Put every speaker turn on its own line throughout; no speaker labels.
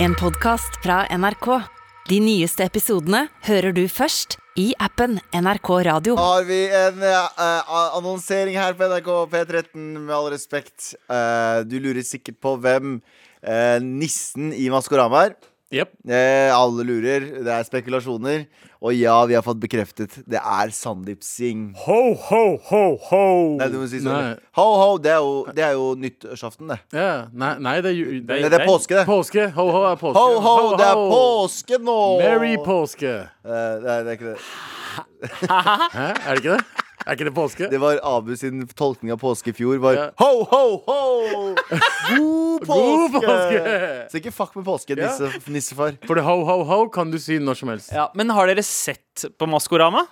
En podcast fra NRK. De nyeste episodene hører du først i appen NRK Radio.
Har vi en eh, eh, annonsering her på NRK P13, med all respekt. Eh, du lurer sikkert på hvem eh, nissen i Maskorama er.
Jepp.
Eh, alle lurer. Det er spekulasjoner. Og ja, vi har fått bekreftet. Det er Sandeep Singh.
Ho, ho, ho, ho.
Nei, du må si
Nei.
sånn. Ho, ho, det er jo, det er jo nyttårsaften, det.
Ja, nei, nei, det er ju...
Nei, det er påske, det.
Påske. Ho, ho er påske.
Ho, ho,
Ho,
det er
ho.
påske nå!
Merry påske.
Eh, nei, det er ikke det.
Hæ, er det ikke det? Er ikke det påske?
Det var Abu sin tolkning av påske i fjor. Var
Ja.
ho, ho, ho! God påske!
God påske!
Så ikke fuck med påske,
Ja.
nisse, nissefar.
For det ho, ho, ho kan du si når som helst.
Ja, men har dere sett på Maskorama?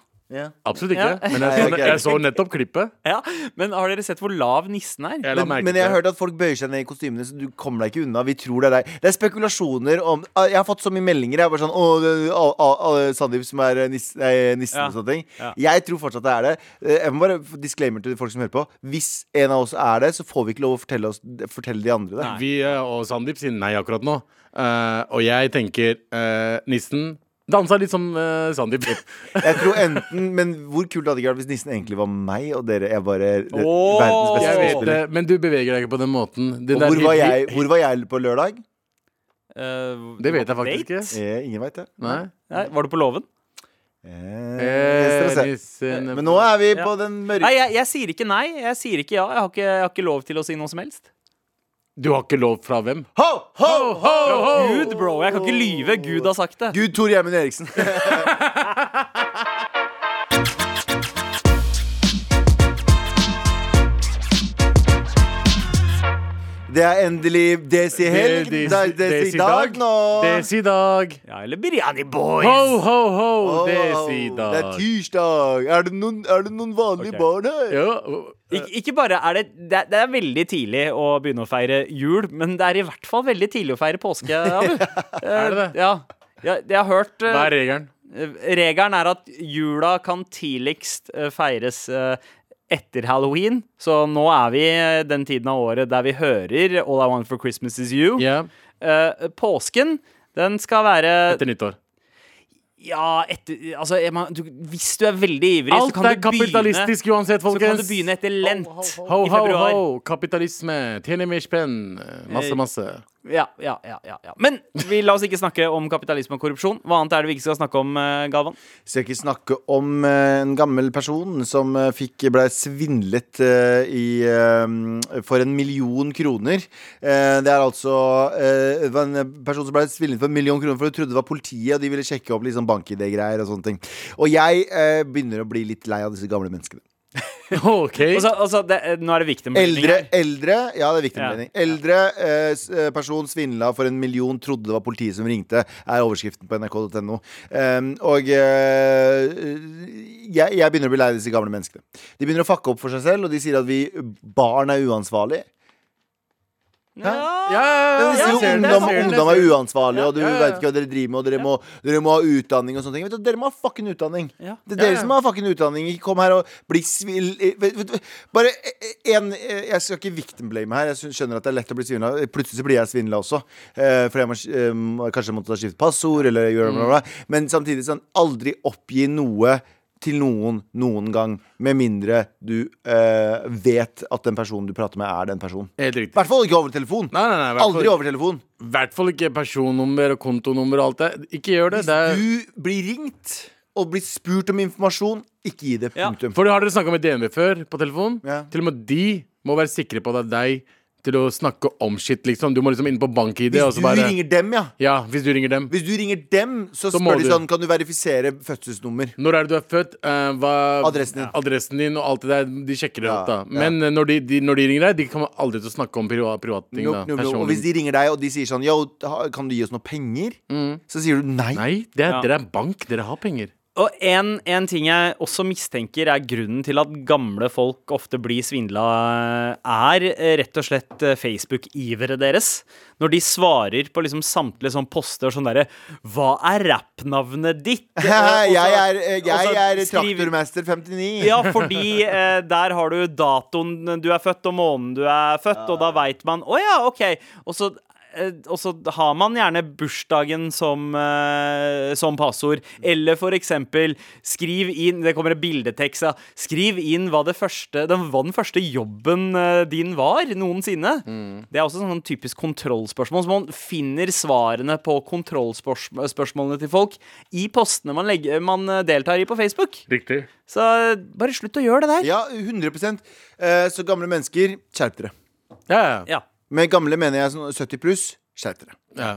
Absolutt ikke.
Ja.
Men jeg
Nei,
så,
ok.
jeg så nettopp klippet.
Ja, men har dere sett hvor lav nissen er?
Jeg la
Men,
merke
men jeg har
til det.
hørt at folk bøyer seg ned i kostymene, så du kommer deg ikke unna. Vi tror det er deg. Det er spekulasjoner om ah, Jeg har fått så mye meldinger. Jeg er bare sånn Å, det- å, å, å, Sandeep som er eh, nis, nei, nissen
Ja.
og sånne ting.
Ja.
Jeg tror fortsatt det er det. Eh, Jeg må bare f- disclaimer til folk som hører på. Hvis en av oss er det, så får vi ikke lov å fortelle, oss, fortelle de andre det.
Vi eh, og Sandeep sier nei akkurat nå. Eh, og jeg tenker eh, nissen dansa litt som eh, Sandeep.
Jeg tror enten Men hvor kult hadde det ikke vært hvis nissen egentlig var meg, og dere er bare det-
Åh,
verdens beste
Jeg vet det,
skuespiller?
men du beveger deg ikke på den måten. Det
Og
der
hvor var,
hyggelig-
jeg, hvor var jeg på lørdag?
Eh,
Det vet
var
jeg
på
faktisk
date?
ikke.
Eh, ingen veit det.
Nei.
Nei, var du på låven?
Eh, vi skal se.
nissen-
Men nå er vi på
Ja.
den mørke
Nei, jeg, jeg sier ikke nei. Jeg sier ikke ja. Jeg har ikke, jeg har ikke lov til å si noe som helst.
Du har ikke lov fra hvem?
Ho, ho, ho, ho!
Gud, bro. Jeg kan ikke lyve. Gud har sagt det.
Gud, Tor Gjermund Eriksen. Det er endelig desi-helg.
Desi-
Desi-dag
desi-dag.
nå.
Desi-dag.
Ja, eller Biryani Boys.
Ho, ho, ho.
Wow, Det er
Desi-dag.
tirsdag. Er det noen, er det noen vanlige
Ok.
barn her?
Ja,
Ik ikke bare er det, det er- Det er veldig tidlig å begynne å feire jul, men det er i hvert fall veldig tidlig å feire påske, Abu.
Er det det?
Ja. Jeg, jeg har hørt eh,
Hva er regelen?
Eh, Regelen er at jula kan tidligst eh, feires eh, etter halloween. Så nå er vi eh, den tiden av året der vi hører All I Want for Christmas Is You.
Ja,
Eh, Påsken, den skal være
etter nyttår.
Ja, etter Altså, jeg må- du, hvis du er veldig ivrig, så
Alt
kan
er
du begynne
kapitalistisk uansett,
så kan du
folkens.
begynne etter lent
Ho,
i
ho,
februar. Eh.
ho. Kapitalisme. Tjene mer spenn. Masse, masse.
Ja, ja, ja, ja, ja. Men vi, la oss ikke snakke om kapitalisme og korrupsjon. Hva annet er det vi ikke skal snakke om, eh, Galvan?
Skal ikke snakke om eh, en gammel person som eh, fikk ble svindlet eh, i, eh, for en million kroner. Eh, Det er altså eh, det var en person som ble svindlet for en million kroner, for de trodde det var politiet, og de ville sjekke opp liksom, bank-ID-greier og sånne ting. Og jeg eh, begynner å bli litt lei av disse gamle menneskene.
OK.
Altså, altså det, eh, nå er det viktig med
Eldre, eldre Ja, det er viktig
Ja.
mening. Eldre eh, s- eh, person svindla for en million, trodde det var politiet som ringte, er overskriften på nrk.no. Em, og eh, jeg, jeg begynner å bli lei av disse gamle menneskene. De begynner å fakke opp for seg selv, og de sier at vi barn er uansvarlige.
Ja.
Ja, ja,
De
ja,
sier
jeg
jo
ser den,
ungdom,
jeg ser den, jeg
ungdom
ser
er
den.
uansvarlige, og du
Ja, ja, ja.
vet ikke hva dere driver med, og dere må, dere må ha utdanning og sånne ting. Vet du, dere må ha fucking utdanning.
Ja.
Det er
Ja,
dere
ja.
som har fucking utdanning. Ikke kom her og bli svil... vet- vet- vet- Bare én Jeg skal ikke victimblame her. Jeg skjønner at det er lett å bli svindla. Plutselig så blir jeg svindla også. Eh, For jeg må, eh, må- kanskje måtte ta skifte passord, eller gjøre bla, bla, bla.
Mm.
Men samtidig sånn, aldri oppgi noe til noen noen gang, med mindre du eh, vet at den personen du prater med, er den personen.
Helt
I
riktig.
hvert fall ikke over telefon.
Nei, nei, nei. i hvert fall-
Aldri over telefon.
I hvert fall ikke personnummer og kontonummer og alt det. Ikke gjør det.
Hvis
det er,
du blir ringt og blir spurt om informasjon, ikke gi det.
Ja.
Punktum.
for har dere snakka med DNB før på telefon?
Ja.
Til og med de må være sikre på at det er deg til å snakke om shit, liksom. Du må liksom inn på bank-ID og
Hvis
så
du
bare
ringer dem, ja.
Ja, hvis du ringer dem.
Hvis du ringer dem, så,
Så må
spør de
du.
sånn Kan du verifisere fødselsnummer?
Når er det du er født? eh, hva,
Adressen din.
adressen din og alt det der. De sjekker det
Ja,
opp, da.
ja.
Men eh, når, de, de, når de ringer deg, de kommer aldri til å snakke om priva- privatting.
Nope,
da,
nope, nope. Og
personlig.
hvis de ringer deg og de sier sånn Yo, ha- kan du gi oss noe penger? Så sier du nei.
Mm. Nei, det er,
Ja.
dere er bank. Dere har penger.
Og en, en ting jeg også mistenker er grunnen til at gamle folk ofte blir svindla, er eh, rett og slett eh, Facebook-iveret deres. Når de svarer på liksom samtlige sånn poster sånn derre Hva er rappnavnet ditt? Og- og så-
jeg er, eh,
og
jeg
så
er
skriver-
traktormester 59.
Ja, fordi eh, der har eh, du datoen du er født, og måneden du er født, og da veit man Å ja, OK. Og så eh, Og så har man gjerne bursdagen som, eh, som passord. Eller for eksempel skriv inn Det kommer en bildetekst. Ja. Skriv inn hva, det første, den, hva den første jobben eh, din var noensinne. Det er også sånn typisk kontrollspørsmål. Så man finner svarene på kontrollspørsmålene til folk i postene man, legger, man eh, deltar i på Facebook.
Riktig.
Så eh, bare slutt å gjøre det der.
Ja, 100 eh, Så gamle mennesker, skjerp dere.
Ja, ja.
Ja.
Med gamle mener jeg sånn 70 pluss, skjerp dere.
ja. ja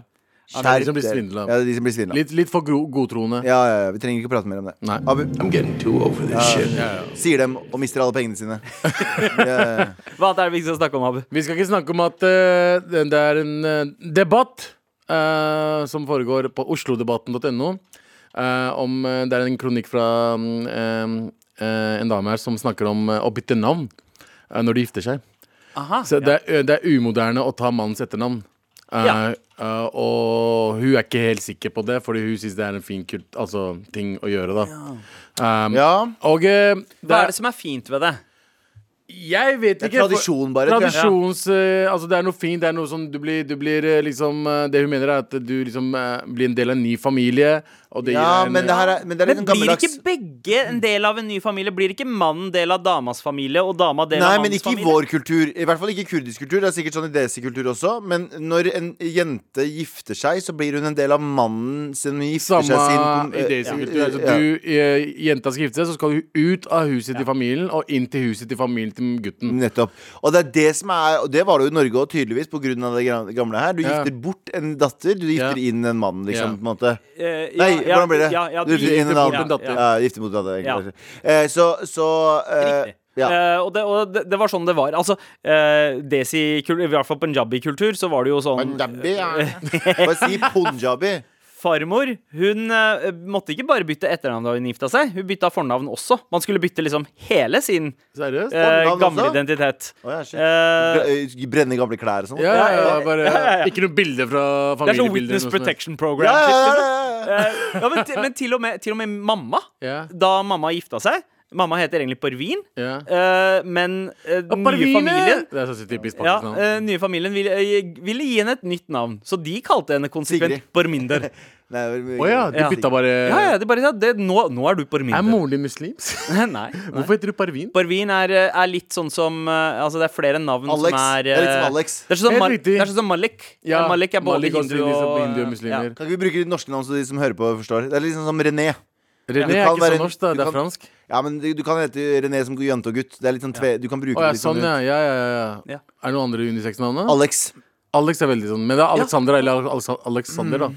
det er
Skjerp
de som blir
dere.
svindla.
Ja, det er de som blir svindla.
Litt, litt for gro- godtroende.
Ja, ja, ja, vi trenger ikke prate mer om det.
Nei.
Abu,
I'm getting too over this shit.
sier dem og mister alle pengene sine.
Hva er det vi skal snakke om, Abu?
Vi skal ikke snakke om at eh, det det er en eh, debatt eh, som foregår på oslodebatten.no. eh, om eh, Det er en kronikk fra mm, eh, eh, en dame her som snakker om eh, å bytte navn eh, når de gifter seg.
Aha,
Så det, er, eh, det er umoderne å ta mannens etternavn. Eh,
Ja.
eh, og hun er ikke helt sikker på det, fordi hun syns det er en fin kult, altså, ting å gjøre. da Um,
Ja.
Og eh, det
Hva
er,
er det som er fint ved det?
jeg vet
Det er
ikke for-
tradisjon, bare. tror jeg.
Tradisjons... eh, altså, det er noe fint. Det er noe som du blir, du blir eh, liksom eh, Det hun mener, er at du liksom eh, blir en del av en ny familie, og det
Ja,
gir deg en eh,
men det, her er, men det er litt
Men
sånn
blir
gammeldags
ikke begge en del av en ny familie? Blir ikke mannen del av damas familie og dama del
Nei,
av
men
mannens
ikke i
familie?
vår kultur. I hvert fall ikke i kurdisk kultur. Det er sikkert sånn i desi kultur også. Men når en jente gifter seg, så blir hun en del av mannen sin hun gifter
Samme
seg sin
idé som kultur. Altså,
eh, Ja.
du, eh, jenta skal gifte seg, så skal hun ut av huset til familien og inn til huset til familien til gutten.
Nettopp. Og det er det som er Og det var det jo i Norge òg, tydeligvis, pga. det gra- gamle her. Du
Ja.
gifter bort en datter, du gifter
Ja.
inn en mann, liksom, på
Ja.
en måte.
Eh,
Nei,
ja, ja,
hvordan blir det?
Ja, ja,
du gifter inn en
bort
annen.
en datter.
Ja, gifter bort en datter, egentlig. Eh, så så eh,
Riktig.
ja.
Eh, og det, og det, det var sånn det var. Altså, eh, desi-kultur, i hvert fall punjabi-kultur, så var det jo sånn
Punjabi, ja. Bare si punjabi.
Farmor hun eh, måtte ikke bare bytte etternavn da hun gifta seg, hun bytta fornavn også. Man skulle bytte liksom hele sin
Seriøst?
eh,
Fornavn
gamle
også?
identitet.
Å, ja, shit.
Eh,
Br- Brenne gamle klær og sånn.
Ja, ja, ja, bare,
ja, ja.
Ikke noe bilde fra
det er
familiebildet.
sånn Witness
eller noe sånt.
Protection
Ja, ja,
Program-shit.
ja,
liksom.
ja, ja.
Eh, ja, men, til, men til, og med, til og med mamma.
Ja.
Da mamma gifta seg. Mamma heter egentlig Parvin,
Ja.
eh, men eh, den nye
Parvine!
familien
Det er så typisk
ja,
pakkisnavn.
eh, nye familien ville, eh, ville gi henne et nytt navn, så de kalte henne konsekvent
Sigrid.
Borminder.
Nei, det var-
Å ja, de
Ja.
bytta bare
Ja, ja, de bare sa det, nå, nå er du Borminder.
Er moren din muslimsk?
nei, nei.
Hvorfor heter du Parvin?
Borvin er, eh, er litt sånn som eh, Altså, det er flere navn
Alex.
som er
Det er litt som
eh,
Alex.
Det er sånn som
Helt
Mar-
riktig.
det er sånn som Malik.
Ja,
Malik er både
Malik også
hindu
liksom
og
hindu og muslimer.
Kan ikke vi bruke de norske navn så de som hører på, forstår? Det er litt sånn som René.
René
Du
er
kan
ikke
være-
så norsk, da.
du
Det er
kan-
fransk.
Ja, men du, du kan hete René som jente og gutt. Det er litt sånn tve, Du kan bruke
Å ja,
det litt
sånn, ja.
som du-
ja, ja, ja.
Ja.
Er det noen andre unisex-navn? da?
Alex.
Alex er veldig sånn. Men det er Alexandra eller Alexa- Alexander,
Mm.
da.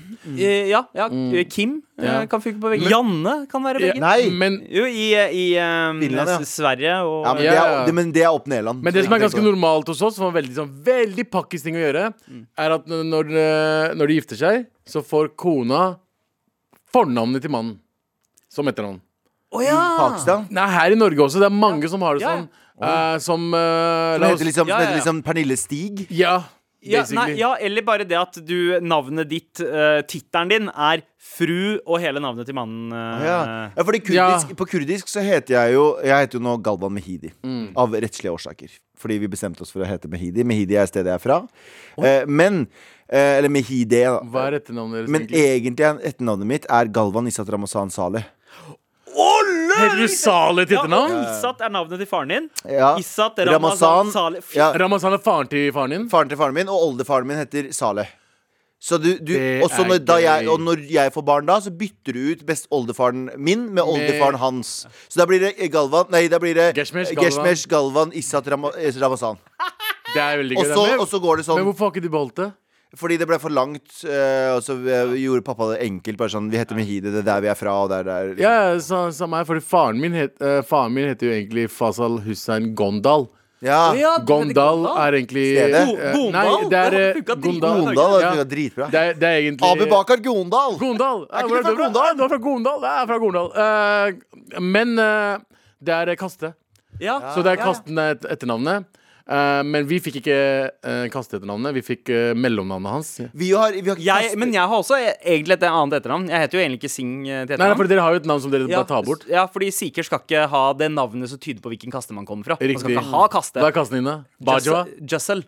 Eh, Ja, ja eh, Kim eh,
Mm. Ja.
kan funke på begge. Janne kan være begge.
Nei.
Men,
Jo, i, i eh,
Finland, ja.
S- Sverige og
Ja, men,
Ja,
Det
ja.
er, det, men det er opp Nederland.
men det
Så
som er
ikke
ganske
tenk på det.
normalt hos oss, som er veldig, sånn, veldig pakkis ting å gjøre,
Mm.
er at n- når, eh, når de gifter seg, så får kona fornavnet til mannen som etternavn.
Å ja!
Pakistan.
Nei, her i Norge også. Det er mange som har det
Ja, ja.
sånn. eh, som eh,
Som
la
heter
oss,
liksom, som
Ja, ja,
heter
ja.
liksom Pernille Stig.
Ja,
Ja,
basically.
nei, ja, eller bare det at du, navnet ditt, uh, tittelen din, er fru og hele navnet til mannen. eh,
Ja, ja fordi kurdisk,
Ja.
På kurdisk så heter jeg jo Jeg heter jo nå Galvan Mehidi. Av rettslige årsaker. Fordi vi bestemte oss for å hete Mehidi. Mehidi er stedet jeg er fra. Eh, men eh, Eller Mehidi, da.
Hva er etternavnet deres?
Men
egentlig?
egentlig er etternavnet mitt er Galvan Isat Ramazan Saleh.
Heter du Saleh til etternavn?
Ja, Issat er navnet til faren din.
Ja.
Issat Ramazan Saleh Fy-
Ja,
Ramazan er faren til faren din?
faren til faren min, og oldefaren min heter Saleh. Så du, du,
Det
og, så
er
når, da jeg,
gøy.
og når jeg får barn da, så bytter du ut best oldefaren min med oldefaren hans. Så da blir det Galvan Nei, da blir det
Geshmesh, Galvan.
Geshmesh Galvan Isat Rama- eh, Ramazan.
Det er veldig gøy.
Og
det er
så,
med-
og så går det
Men
sånn
hvorfor har ikke de beholdt det?
fordi det ble for langt, eh, og så eh, gjorde pappa det enkelt. Bare sånn Vi heter Mehidi, det er der vi er fra, og det er der liksom.
Ja, ja, sa, samme her, fordi faren min, het, eh, faren min heter jo egentlig Fasal Hussein Gondal.
Ja.
Ja, du heter
Gondal
Gondal.
er egentlig
Stedet?
eh, eh,
Go-
Nei,
Gondal?
det er
Det
eh,
har funket
Gondal.
dritbra.
Gondal, det
Ja,
er dritbra.
det, er, det er egentlig
Abu Bakar Gondal!
Gondal.
Er ikke du fra Gondal?
Du er fra Gondal. Jeg er fra Gondal. Eh, men eh, det er eh, Kaste.
Ja.
Så det er
Ah, ja, ja.
Kasten er et- etternavnet. Eh, men vi fikk ikke eh, Kaste-etternavnet. Vi fikk eh, mellomnavnet hans.
Vi har, vi har ikke
Jeg,
kastet-
men jeg har også e- egentlig et annet etternavn. Jeg heter jo egentlig ikke Singh eh,
Nei,
til
nei,
etternavn.
for dere har jo et navn som dere
ja,
bare tar bort.
ja, fordi sikher skal ikke ha det navnet som tyder på hvilken kaste man kommer fra. Man skal
Riktig.
ikke ha kaste.
Hva er kasten din, da? Bajwa?
Jussel.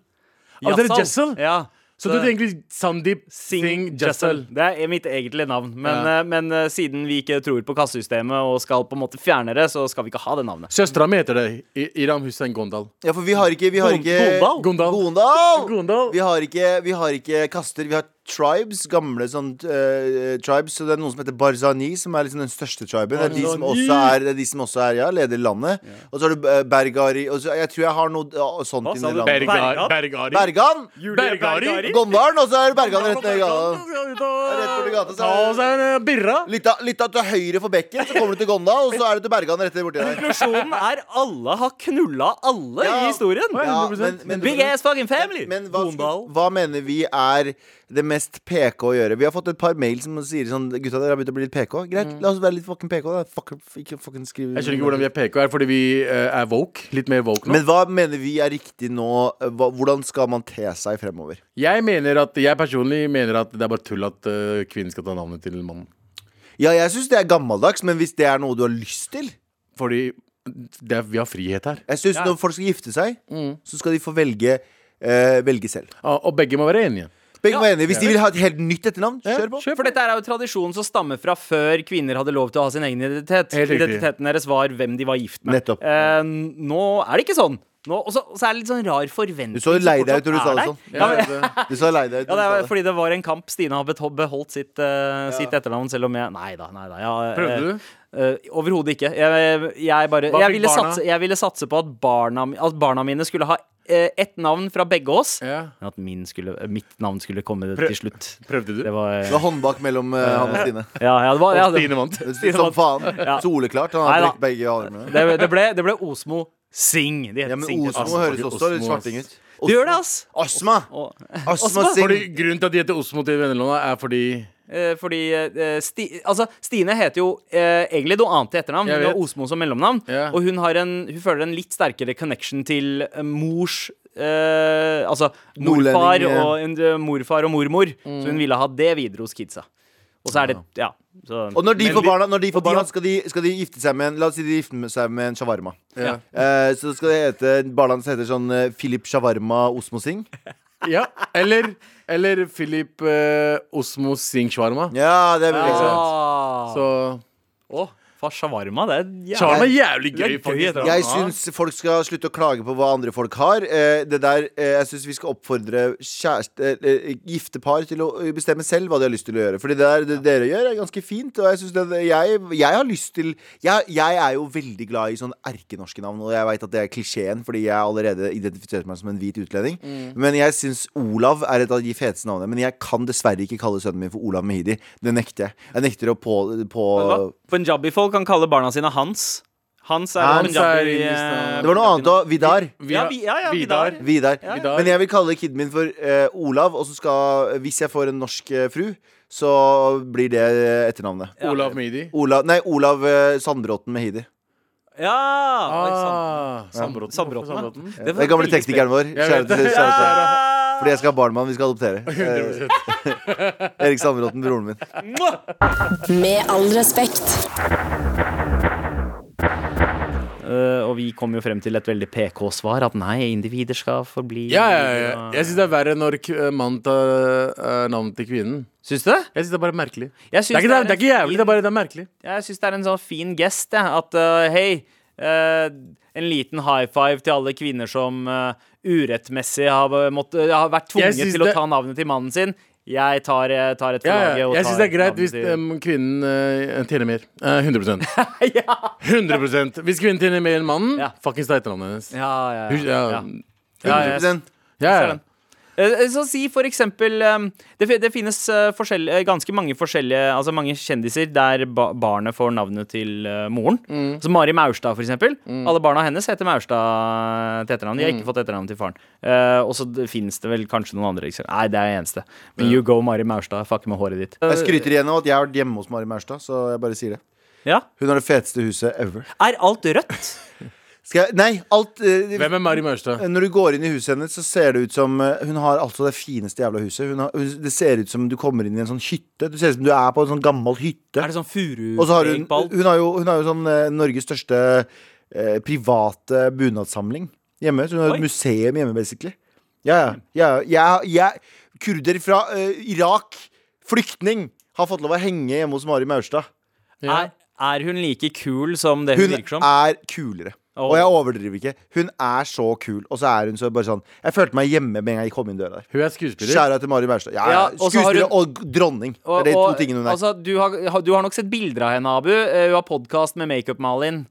Ah, det er Jessel?
Ja.
Så du heter egentlig Sandeep Singh Jassel.
Det er mitt egentlige navn. Men, eh, men eh, siden vi ikke tror på kassesystemet og skal på en måte fjerne det, så skal vi ikke ha det navnet.
Søstera mi heter det. I- Iram Hussein Gondal.
Ja, for vi har ikke, vi har ikke
Gondal?
Gondal.
Gondal!
Gondal.
Vi, har ikke, vi har ikke kaster, vi har tribes, gamle sånn eh, tribes. Så det er noen som heter Barzani, som er liksom den største triben. Det er de som
Barzani.
også er, det er, de som også er ja, leder landet. Og så har du eh, Bergari og så, Jeg tror jeg har noe ja, sånt
Hva sa
inni
du?
landet.
Bergar-
Bergari.
Bergan!
Bergari?
Gondalen, og så er det Bergan rett ned i gata. Rett borti gata, så
Ta
er
oss en eh, birra.
Litt, av- litt av til høyre for bekken, så kommer du til Gondal, og så er det til Bergan rett borti der.
Konklusjonen er alle har knulla alle
Ja.
i historien.
Ja, men- men-
Big ass fucking family.
Men hva,
Gondal.
hva mener vi er det mest PK å gjøre? Vi har fått et par mail som sier sånn Gutta, dere har begynt å bli litt PK. Greit, la oss være litt fucking PK, da. Fuck, ikke fucking skriv
Jeg skjønner ikke hvordan vi er PK her, fordi vi eh, er woke. Litt mer woke nå.
Men hva mener vi er riktig nå? Hva, hvordan skal man te seg fremover?
jeg, mener at, jeg personlig mener at det er bare tull at eh, kvinnen skal ta navnet til mannen.
Ja, jeg syns det er gammeldags, men hvis det er noe du har lyst til
Fordi det er, vi har frihet her.
Jeg syns når folk skal gifte seg, så skal de få velge, eh, velge selv.
Ah, Og begge må være enige.
Begge
Ja.
var enige. Hvis de vil ha et helt nytt etternavn, kjør på.
For dette er jo tradisjon som stammer fra før kvinner hadde lov til å ha sin egen identitet.
Helt riktig.
Identiteten deres var hvem de var gift med.
Nettopp.
Eh, nå er det ikke sånn. Nå, og så og så er det litt sånn rar forventning.
Du så lei deg ut når du sa det sånn.
Ja, men,
Du så lei deg ut.
ja,
når du
det
sa
er fordi det var en kamp. Stine har beto- beholdt sitt, eh, sitt etternavn, selv om jeg Nei da, nei da. Jeg,
Prøvde du?
Eh, Overhodet ikke. Jeg, jeg, bare,
Hva
jeg,
fikk
ville
barna?
satse, jeg ville satse på at barna, mi- at barna mine skulle ha eh, ett navn fra begge oss.
Ja.
Men at min skulle, mitt navn skulle komme
Prøv-
til slutt.
Prøvde du?
Det var
Det var håndbak mellom eh, han og Stine.
Ja, ja, det var ja,
Og
det,
Stine vant.
Som sånn, faen.
Ja.
Soleklart. Han
Nei
har
da.
brukket begge armene.
det, det, ble, det ble Osmo Singh. De het
Ja, men
Singh til
Osmo
sammen.
høres også litt
Osmo,
svarting ut.
Det gjør det, ass!
Astma!
Og,
Astma
Fordi
Singh.
Grunnen til at de heter Osmo til vennelåna, er fordi
eh, fordi eh, Sti, altså, Stine heter jo eh, egentlig noe annet til etternavn.
Jeg
Hun har
vet.
Osmo som mellomnavn.
Ja.
Og hun, har en, hun føler en litt sterkere connection til eh, mors eh, altså morfar
Nordlending, ja. Mm.
og, en- eh, morfar og mormor. Så hun ville ha det videre hos kidsa. Og så er det Ja. Så,
Og når de
Men
får
vi-
barna, når de får
og de
barna
har-
skal, de, skal de gifte seg med en La oss si de gifter med seg med en shawarma.
Ja.
Eh, så skal det hete barna hans heter sånn eh, Philip Shawarma Osmo Singh.
Ja. Eller, eller Philip eh, Osmo Singh Shawarma.
Ja, det er veldig sant.
Ah.
Så
Å, far shawarma, det er jævlig
Shawarma er jævlig
Det er
gøy.
gøy,
faktisk.
da.
Jeg syns folk skal slutte å klage på hva andre folk har. Eh, det der, eh, jeg syns vi skal oppfordre kjæreste, eh, gifte par til å eh, bestemme selv hva de har lyst til å gjøre. Fordi det der det dere gjør, er ganske fint. Og jeg synes det, det- jeg, jeg har lyst til jeg, jeg er jo veldig glad i sånn erkenorske navn, og jeg veit at det er klisjeen, fordi jeg allerede identifiserer meg som en hvit utlending. Men jeg syns Olav er et av de feteste navnene. Men jeg kan dessverre ikke kalle sønnen min for Olav Mehidi. Det nekter jeg. Jeg nekter å på,
Hva?
på
Punjabi-folk kan kalle barna sine Hans. Hans er
Hans
er
punjabi.
indisk
eh,
navn.
Det var noe annet òg. Vidar.
Vi
Ja,
har-
vi- ja, ja,
Vidar.
Vidar.
Vidar.
Vidar.
Men jeg vil kalle kiden min for eh, Olav, og så skal Hvis jeg får en norsk eh, fru, så blir det eh, etternavnet.
Olav Mehdi.
Olav, nei, Olav eh, Sandbråten Mehidi.
Ja!
Ah, Sandbråten.
Sandbråten,
Hvorfor
ja.
Sandbråten?
Det
Den
var
gamle
veldig
teknikeren vår.
Jeg
Kjære
vet
til
det.
kjære til. Fordi jeg skal ha barn med han, vi skal adoptere.
100%.
Eh, Erik Sandbråten, broren min.
Med all respekt.
Eh, og vi kom jo frem til et veldig PK-svar, at nei, individer skal forbli
Ja, ja, ja. Jeg syns det er verre når k- mannen tar eh, navnet til kvinnen.
Syns du det?
Jeg syns det er bare merkelig. Det
Jeg syns
er, ikke, det, er, det er ikke
en
jævlig, det er bare det er merkelig.
fin- Jeg syns det er en sånn fin gest, jeg. At eh, hei, eh, en liten high five til alle kvinner som eh, urettmessig har, måttet- har vært
Jeg
tvunget
syns
til å
det-
ta navnet til mannen sin. Jeg tar, eh, tar et for
Ja,
laget
ja.
og
Jeg
tar
syns det er greit
navnet
hvis
til-
em, kvinnen eh, tjener mer. Eh, 100 100 Hvis kvinnen tjener mer enn mannen,
Ja.
fuckings ta etternavnet hennes.
Ja, ja,
Hun-
ja.
ja.
ja. Ja, jeg-
100%.
Ja,
Ser
ja.
den. Eh, Så si for eksempel eh, Det, fi- det finnes eh, forskjell- eh, ganske mange forskjellige Altså mange kjendiser der ba barnet får navnet til eh, moren.
Mm.
Så Mari Maurstad, for eksempel. Alle barna hennes heter Maurstad til etternavn. De
Mm.
har ikke fått etternavn til faren. Eh, og så det- finnes det vel kanskje noen andre eksempler. Nei, det er eneste. Men you go, Mari Maurstad. Fuck med håret ditt.
Jeg skryter igjen av at jeg har vært hjemme hos Mari Maurstad, så jeg bare sier det.
Eh, Ja.
Hun har det feteste huset ever.
Er alt rødt?
Skal jeg Nei, alt eh,
Hvem er Mari Maurstad?
Når du går inn i huset hennes, så ser det ut som eh, Hun har altså det fineste jævla huset. Hun har, hun, det ser ut som du kommer inn i en sånn hytte. Du ser ut som du er på en sånn gammel hytte.
Er det sånn
Og så har hun
furustrekball?
Hun har jo, hun har jo sånn eh, Norges største eh, private bunadssamling hjemme. Så hun har
Oi.
et museum hjemme, basically. Ja, ja. ja, ja, ja. kurder fra eh, Irak, flyktning, har fått lov å henge hjemme hos Mari Maurstad.
Ja.
Er, er hun like kul som det hun,
Hun
virker som?
er kulere.
Åh.
Og jeg overdriver ikke. Hun er så kul. Og så er hun så bare sånn Jeg følte meg hjemme med en gang jeg kom inn døra der.
Hun er skuespiller.
Skjæra til Mari Maurstad. Ja,
Ja,
ja,
og så har
skuespiller og dronning. Det er de to tingene hun er.
altså, du, har, du har nok sett bilder av henne, Abu. Eh, Hun har podkast med Makeup-Malin.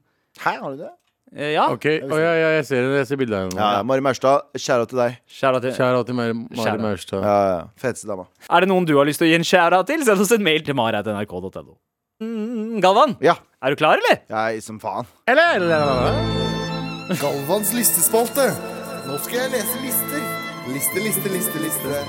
Hæ, har du det?
Eh, Ja.
Ok, Å, ja, ja, jeg ser henne. Jeg ser bildet av
Ja,
henne.
ja. Mari Maurstad, skjæra til deg.
Shout-out til-
Kjære til Mari Mari
Shout-out.
Maurstad.
Ja, ja. Feteste dama.
Er det noen du har lyst til å gi en shout-out til, send oss en mail til mara.nrk.no. Mm, Galvan,
Ja.
er du klar, eller?
Jeg som faen.
Eller, eller, eller, eller.
Galvans listespalte. Nå skal jeg lese lister. Liste, liste, liste, liste.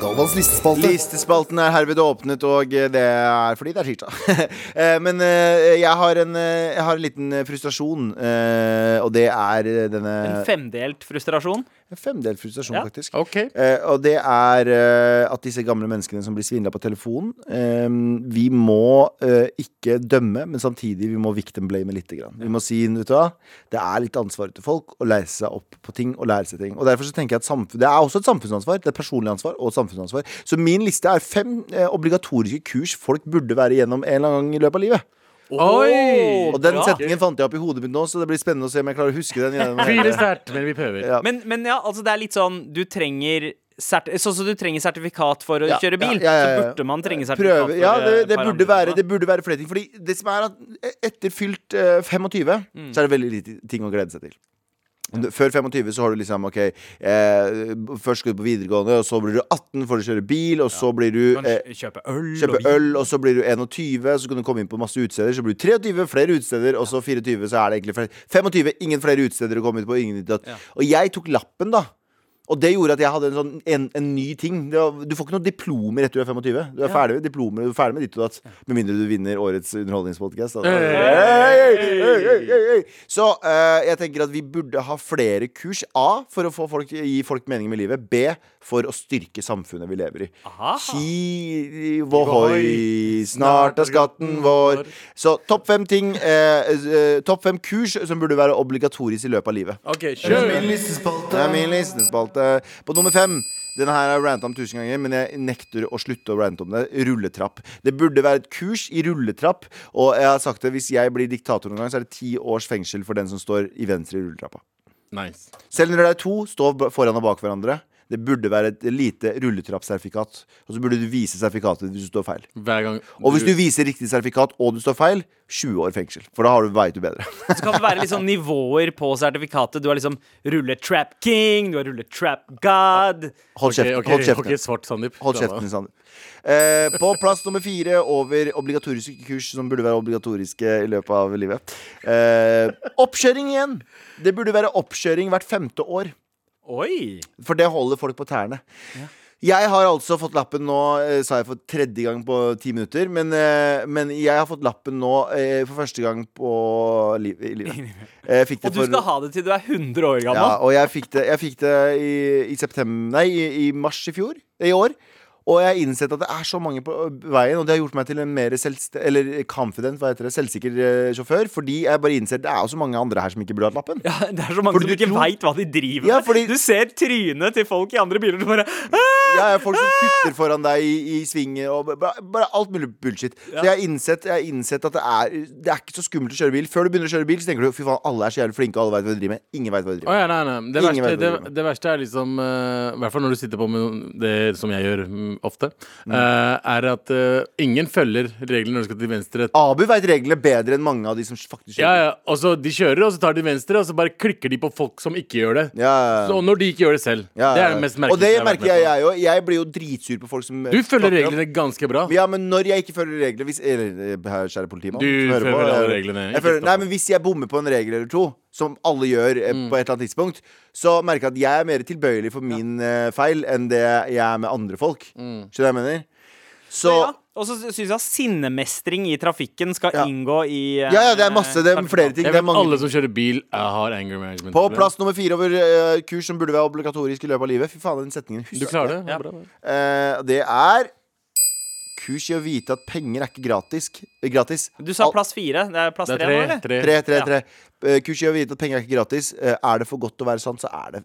Galvans listespalte.
Listespalten er herved åpnet, og eh, det er fordi det er tirsdag. Eh, Men eh, jeg har en, eh, jeg har en liten eh, frustrasjon, eh, og det er eh, denne
En femdelt frustrasjon.
En femdel frustrasjon,
Ja.
faktisk.
Ok.
Eh, og det er eh, at disse gamle menneskene som blir svindla på telefonen eh, Vi må eh, ikke dømme, men samtidig vi må victim-blame lite grann. Vi må si vet du hva, det er litt ansvaret til folk å lære seg opp på ting og lære seg ting. Og derfor så tenker jeg at samfunn, Det er også et samfunnsansvar. Det er et personlig ansvar og et samfunnsansvar. Så min liste er fem eh, obligatoriske kurs folk burde være igjennom en eller annen gang i løpet av livet.
Oi!
Og den
bra.
setningen fant jeg opp i hodet mitt nå, så det blir spennende å se om jeg klarer å huske den. gjennom
Tviler
hele-
sterkt, men vi prøver.
Ja.
Men, men ja, altså det er litt sånn Du trenger serti- Sånn som du trenger sertifikat for å
Ja,
kjøre bil,
ja, ja, ja, ja.
så burde man trenge sertifikat.
Prøve, ja,
for, eh,
det, det,
et par andre
burde være,
ting, da.
det burde være flere ting. Fordi det som er at e- etter fylt eh, 25,
Mm.
så er det veldig lite ting å glede seg til. Du- Før 25 så har du liksom OK, eh, først skal du på videregående, og så blir du 18, får du kjøre bil, og så blir
Du
du
kan
eh,
kjø- kjøpe øl.
Kjøpe
og vin.
øl, og så blir du 21, så kan du komme inn på masse utesteder. Så blir du 23, flere utesteder, og så 24, så er det egentlig flere. 25, ingen flere utesteder å komme ut på. Ingen ditt, datt. Og jeg tok lappen, da. Og det gjorde at jeg hadde en, sånn, en, en ny ting. Det var, du får ikke noe diplomer etter du er 25. Du er ferdig med diplomer, du er ferdig med ditt og datt. Med mindre du vinner årets underholdningspodkast. da. Hey, hey, hey, hey, hey. Så eh, jeg tenker at vi burde ha flere kurs. A. For å få folk, gi folk mening med livet. B. For å styrke samfunnet vi lever i. Hi, vohoi, snart er skatten vår. Så topp fem ting eh, eh, Topp fem kurs som burde være obligatorisk i løpet av livet.
Ok,
Det er
kjør!
min listespalte.
Det er min listespalte. På nummer fem. Denne her har jeg ranta om tusen ganger, men jeg nekter å slutte å rante om det. Rulletrapp. Det burde være et kurs i rulletrapp. Og jeg har sagt det, hvis jeg blir diktator noen gang, så er det ti års fengsel for den som står i venstre i rulletrappa.
Nice.
Selv når det er to, stå b- foran og bak hverandre. Det burde være et lite rulletrappsertifikat. Og så burde du vise sertifikatet hvis du står feil.
Hver gang
Og hvis du viser riktig sertifikat og du står feil, 20 år fengsel. For da har du veit du bedre.
Så kan det være litt sånn nivåer på sertifikatet. Du har liksom rullet Trap King, du har rullet Trap God.
Hold
Ok,
kjeften.
ok,
Hold kjeften.
ok, svart, Sandeep.
Hold
Slapp av.
kjeften Sander. Eh, på plass nummer fire over obligatoriske kurs som burde være obligatoriske i løpet av livet. Eh, oppkjøring igjen! Det burde være oppkjøring hvert femte år.
Oi!
For det holder folk på tærne. Jeg har altså fått lappen nå, eh, sa jeg for tredje gang på ti minutter, men, eh, men jeg har fått lappen nå eh, for første gang på liv, i livet. Jeg fikk det
Og du skal ha det til du er 100 år
ja,
gammel.
og jeg fikk det, jeg fikk det i, i september Nei, i, i mars i fjor. I år. Og jeg har innsett at det er så mange på ø, veien, og det har gjort meg til en mer selvst eller confident, hva heter det, selvsikker eh, sjåfør. Fordi jeg bare innser det er jo så mange andre her som ikke burde hatt lappen.
Ja, det er så mange
Fordi du
som ikke
tror-
veit hva de driver med.
Ja, fordi-
Du ser trynet til folk i andre biler. Du bare
Ja, ja, folk som kutter foran deg i, i svinger og bare, bare alt mulig bullshit. Så jeg har innsett, jeg har innsett at det er, det er ikke så skummelt å kjøre bil. Før du begynner å kjøre bil, så tenker du fy faen, alle er så jævlig flinke, og alle veit hva de driver med. Ingen veit hva de
Å
driver med.
ja, nei, nei. Det,
Ingen vet
verste,
hva
det,
du driver med.
det verste er liksom eh, I hvert fall når du sitter på med noen- det som jeg gjør mm, ofte, eh, er at eh, ingen følger reglene når du skal til venstre.
Abu veit reglene bedre enn mange av de som faktisk
Ja,
kjører.
ja, og så De kjører, og så tar de venstre, og så bare klikker de på folk som ikke gjør det.
Ja, ja.
Så når de ikke gjør det selv.
Ja, ja,
Det er
ja.
det mest merkelige.
Og det
jeg har vært
merker
med
jeg,
på.
jeg òg. Jeg blir jo dritsur på folk som eh,
Du følger
snakker om-
reglene ganske bra.
Ja, men når jeg ikke følger regler hvis, eller, eh, her, Kjære politimann.
Du
som hører
følger alle
eh,
reglene,
Jeg
ikke
følger,
stopp.
nei, men hvis jeg bommer på en regel eller to, som alle gjør eh,
Mm.
på et eller annet tidspunkt, så merker jeg at jeg er mer tilbøyelig for min eh, feil enn det jeg er med andre folk.
Mm.
Skjønner du hva jeg mener? Så
ja. Og så syns jeg at sinnemestring i trafikken skal
Ja.
inngå i eh,
Ja, ja, det er masse. Det er flere ting.
Jeg
Det er
vet
mange
alle som kjører bil, eh, har anger management.
På plass nummer fire over eh, kurs som burde være obligatorisk i løpet av livet. Fy faen, den setningen husker
Du klarer det?
Ja.
Bra, bra.
Eh, det er kurs i å vite at penger er ikke gratis. gratis.
Du sa
Al-
plass fire. Det er plass
Det
tre,
er
nå, eller?
tre. tre.
Tre, tre,
Ja.
tre. Eh, Kurs i å vite at penger er ikke gratis. Eh, Er det for godt til å være sant, så er det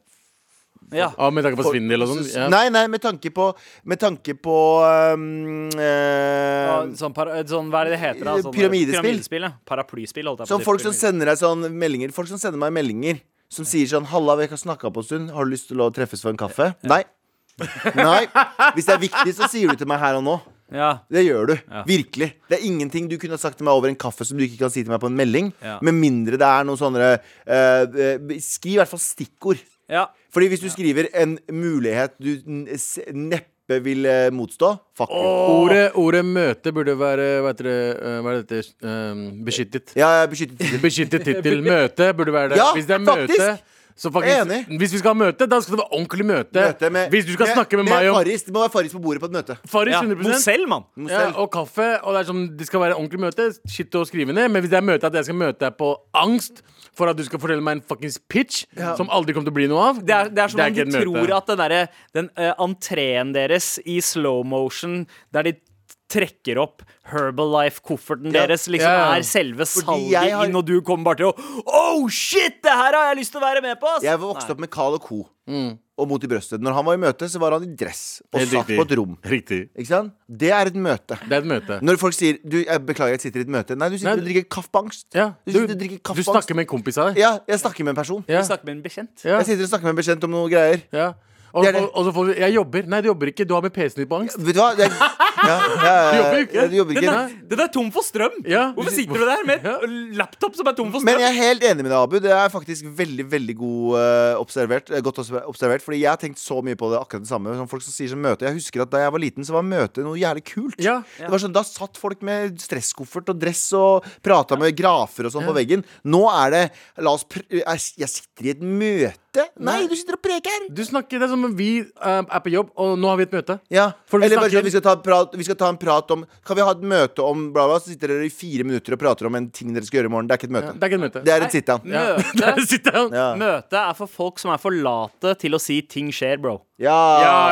Ja.
Ah, med tanke på svindel og sånn? Ja.
Nei, nei, med tanke på Med tanke på um, eh,
Ja, Sånn, para, sånn, hva er det det heter? Da? Sånn,
Pyramidespill.
pyramidespill ja. Paraplyspill. Holdt jeg på å
Eh, Sånn
si.
folk som
Pyramide-
sender deg sånn meldinger Folk som sender meg meldinger Som sier sånn Halla, vi har ikke snakket på en stund Har du lyst til å treffes for en kaffe? Nei Nei Hvis det er viktig så sier du til meg her og nå
ja.
Det gjør du, virkelig Det er ingenting du kunne ha sagt til meg over en kaffe Som du ikke kan si til meg på en melding
Ja.
Med mindre det er noen sånne eh, eh, Skriv i hvert fall stikkord
ja.
Fordi hvis du skriver en mulighet Du n- s- neppe vil eh, motstå Fuck you
Ordet, ordet møte burde være Hva heter det? eh, Hva er dette? eh, beskyttet.
Ja, jeg er beskyttet
Beskyttet tittel. Møte burde være det.
Ja,
Hvis det er
faktisk!
møte så faktisk,
Enig.
Hvis vi skal ha møte, da skal det være ordentlig møte.
Møte med-
hvis du skal snakke med, meg om
Farris. Det må være Farris på bordet på et møte
Farris
ja.
100
Mosell, mann!
ja, og kaffe. Og det, er sånn, det skal være ordentlig møte. Shit å skrive ned. Men hvis det er møte at jeg skal møte deg på angst for at du skal fortelle meg en fuckings pitch som aldri kommer til å bli noe av
Det er, det er som om de
ikke et møte.
tror at den, derre- den eh, entreen deres i slow motion, der de trekker opp Herbalife-kofferten
Ja.
deres, liksom
Ja.
er selve
jeg
salget
har-
inn, og du kommer bare til å Oh shit, det her har jeg lyst til å være med på! ass!»
Jeg vokste opp med Carl og Co. Og Mot i brøstet. Når han var i møte, så var han i dress og
Helt
satt
riktig.
på et rom.
Riktig.
Ikke sant? Det er et møte.
Det er et møte.
Når folk sier du, jeg 'beklager, jeg sitter i et møte' Nei, du sitter
Nei,
og drikker kaffeangst.
Ja,
Du
du,
sitter og drikker
du
kaffeangst.
snakker med en kompis av deg.
Ja, jeg snakker med en person.
Ja.
Vi snakker med en bekjent.
Ja.
Jeg sitter og snakker med en bekjent om noen greier.
Ja. Og,
Det er det.
og, og så får vi Jeg jobber. Nei, du jobber ikke. Du har med PC-en din på angst.
Vet du hva? Det er, ja, ja, ja,
Du jobber jo ikke.
ja, du jobber
Den
ikke.
er, den er tom for strøm!
Ja.
Hvorfor sitter du der med en laptop som er tom for
Men
strøm?
jeg er helt enig med deg, Abu. Det er faktisk veldig veldig god, eh, observert, eh, godt obs- observert. Fordi jeg har tenkt så mye på det akkurat det samme. Som folk som sier som møte Jeg husker at da jeg var liten, så var møte noe jævlig kult.
Ja.
Det var sånn, Da satt folk med stresskoffert og dress og prata med grafer og sånn på veggen. Nå er det La oss pr Jeg jeg sitter i et møte? Nei, du sitter og preker!
Du snakker Det er som om vi eh, er på jobb, og nå har vi et møte.
Ja,
For vi
Eller bare
snakker-
sånn, vi skal, ta en prat, vi skal ta en prat om Kan vi ha et møte om bla, bla? Så sitter dere i fire minutter og prater om en ting dere skal gjøre i morgen. Det er ikke et møte.
Det er ikke et møte.
Det er et sit-down.
ja.
Møte,
Der sitter han.
Ja.
møte er for folk som er for late til å si 'ting skjer, bro'.
Ja, ja,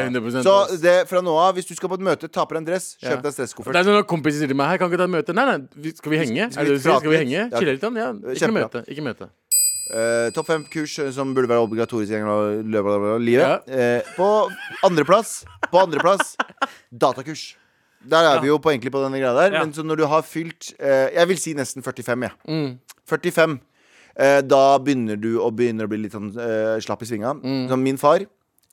ja, 100
Så det, fra nå av, hvis du skal på et møte, ta på deg en dress, kjøp deg
Ja.
en
Det
stresskoffert.
er sånn når kompiser sier til meg Hei, kan ikke ta et møte? Nei, nei, vi- skal vi henge?
skal
er det det du
vi
sier? Skal vi
prate
henge?
litt? Ja.
Chille litt? grann? Ja. Ikke
Kjempebra.
møte. Ikke møte.
Eh, topp fem kurs som burde være obligatorisk i løpet av livet.
Ja.
Eh, på andreplass På andreplass datakurs. Der er vi jo på, egentlig på denne greia der.
Ja.
Men så når du har fylt eh, Jeg vil si nesten 45, jeg.
Mm.
45. eh, da begynner du å begynner å bli litt sånn eh, slapp i svinga.
Mm.
Som min far.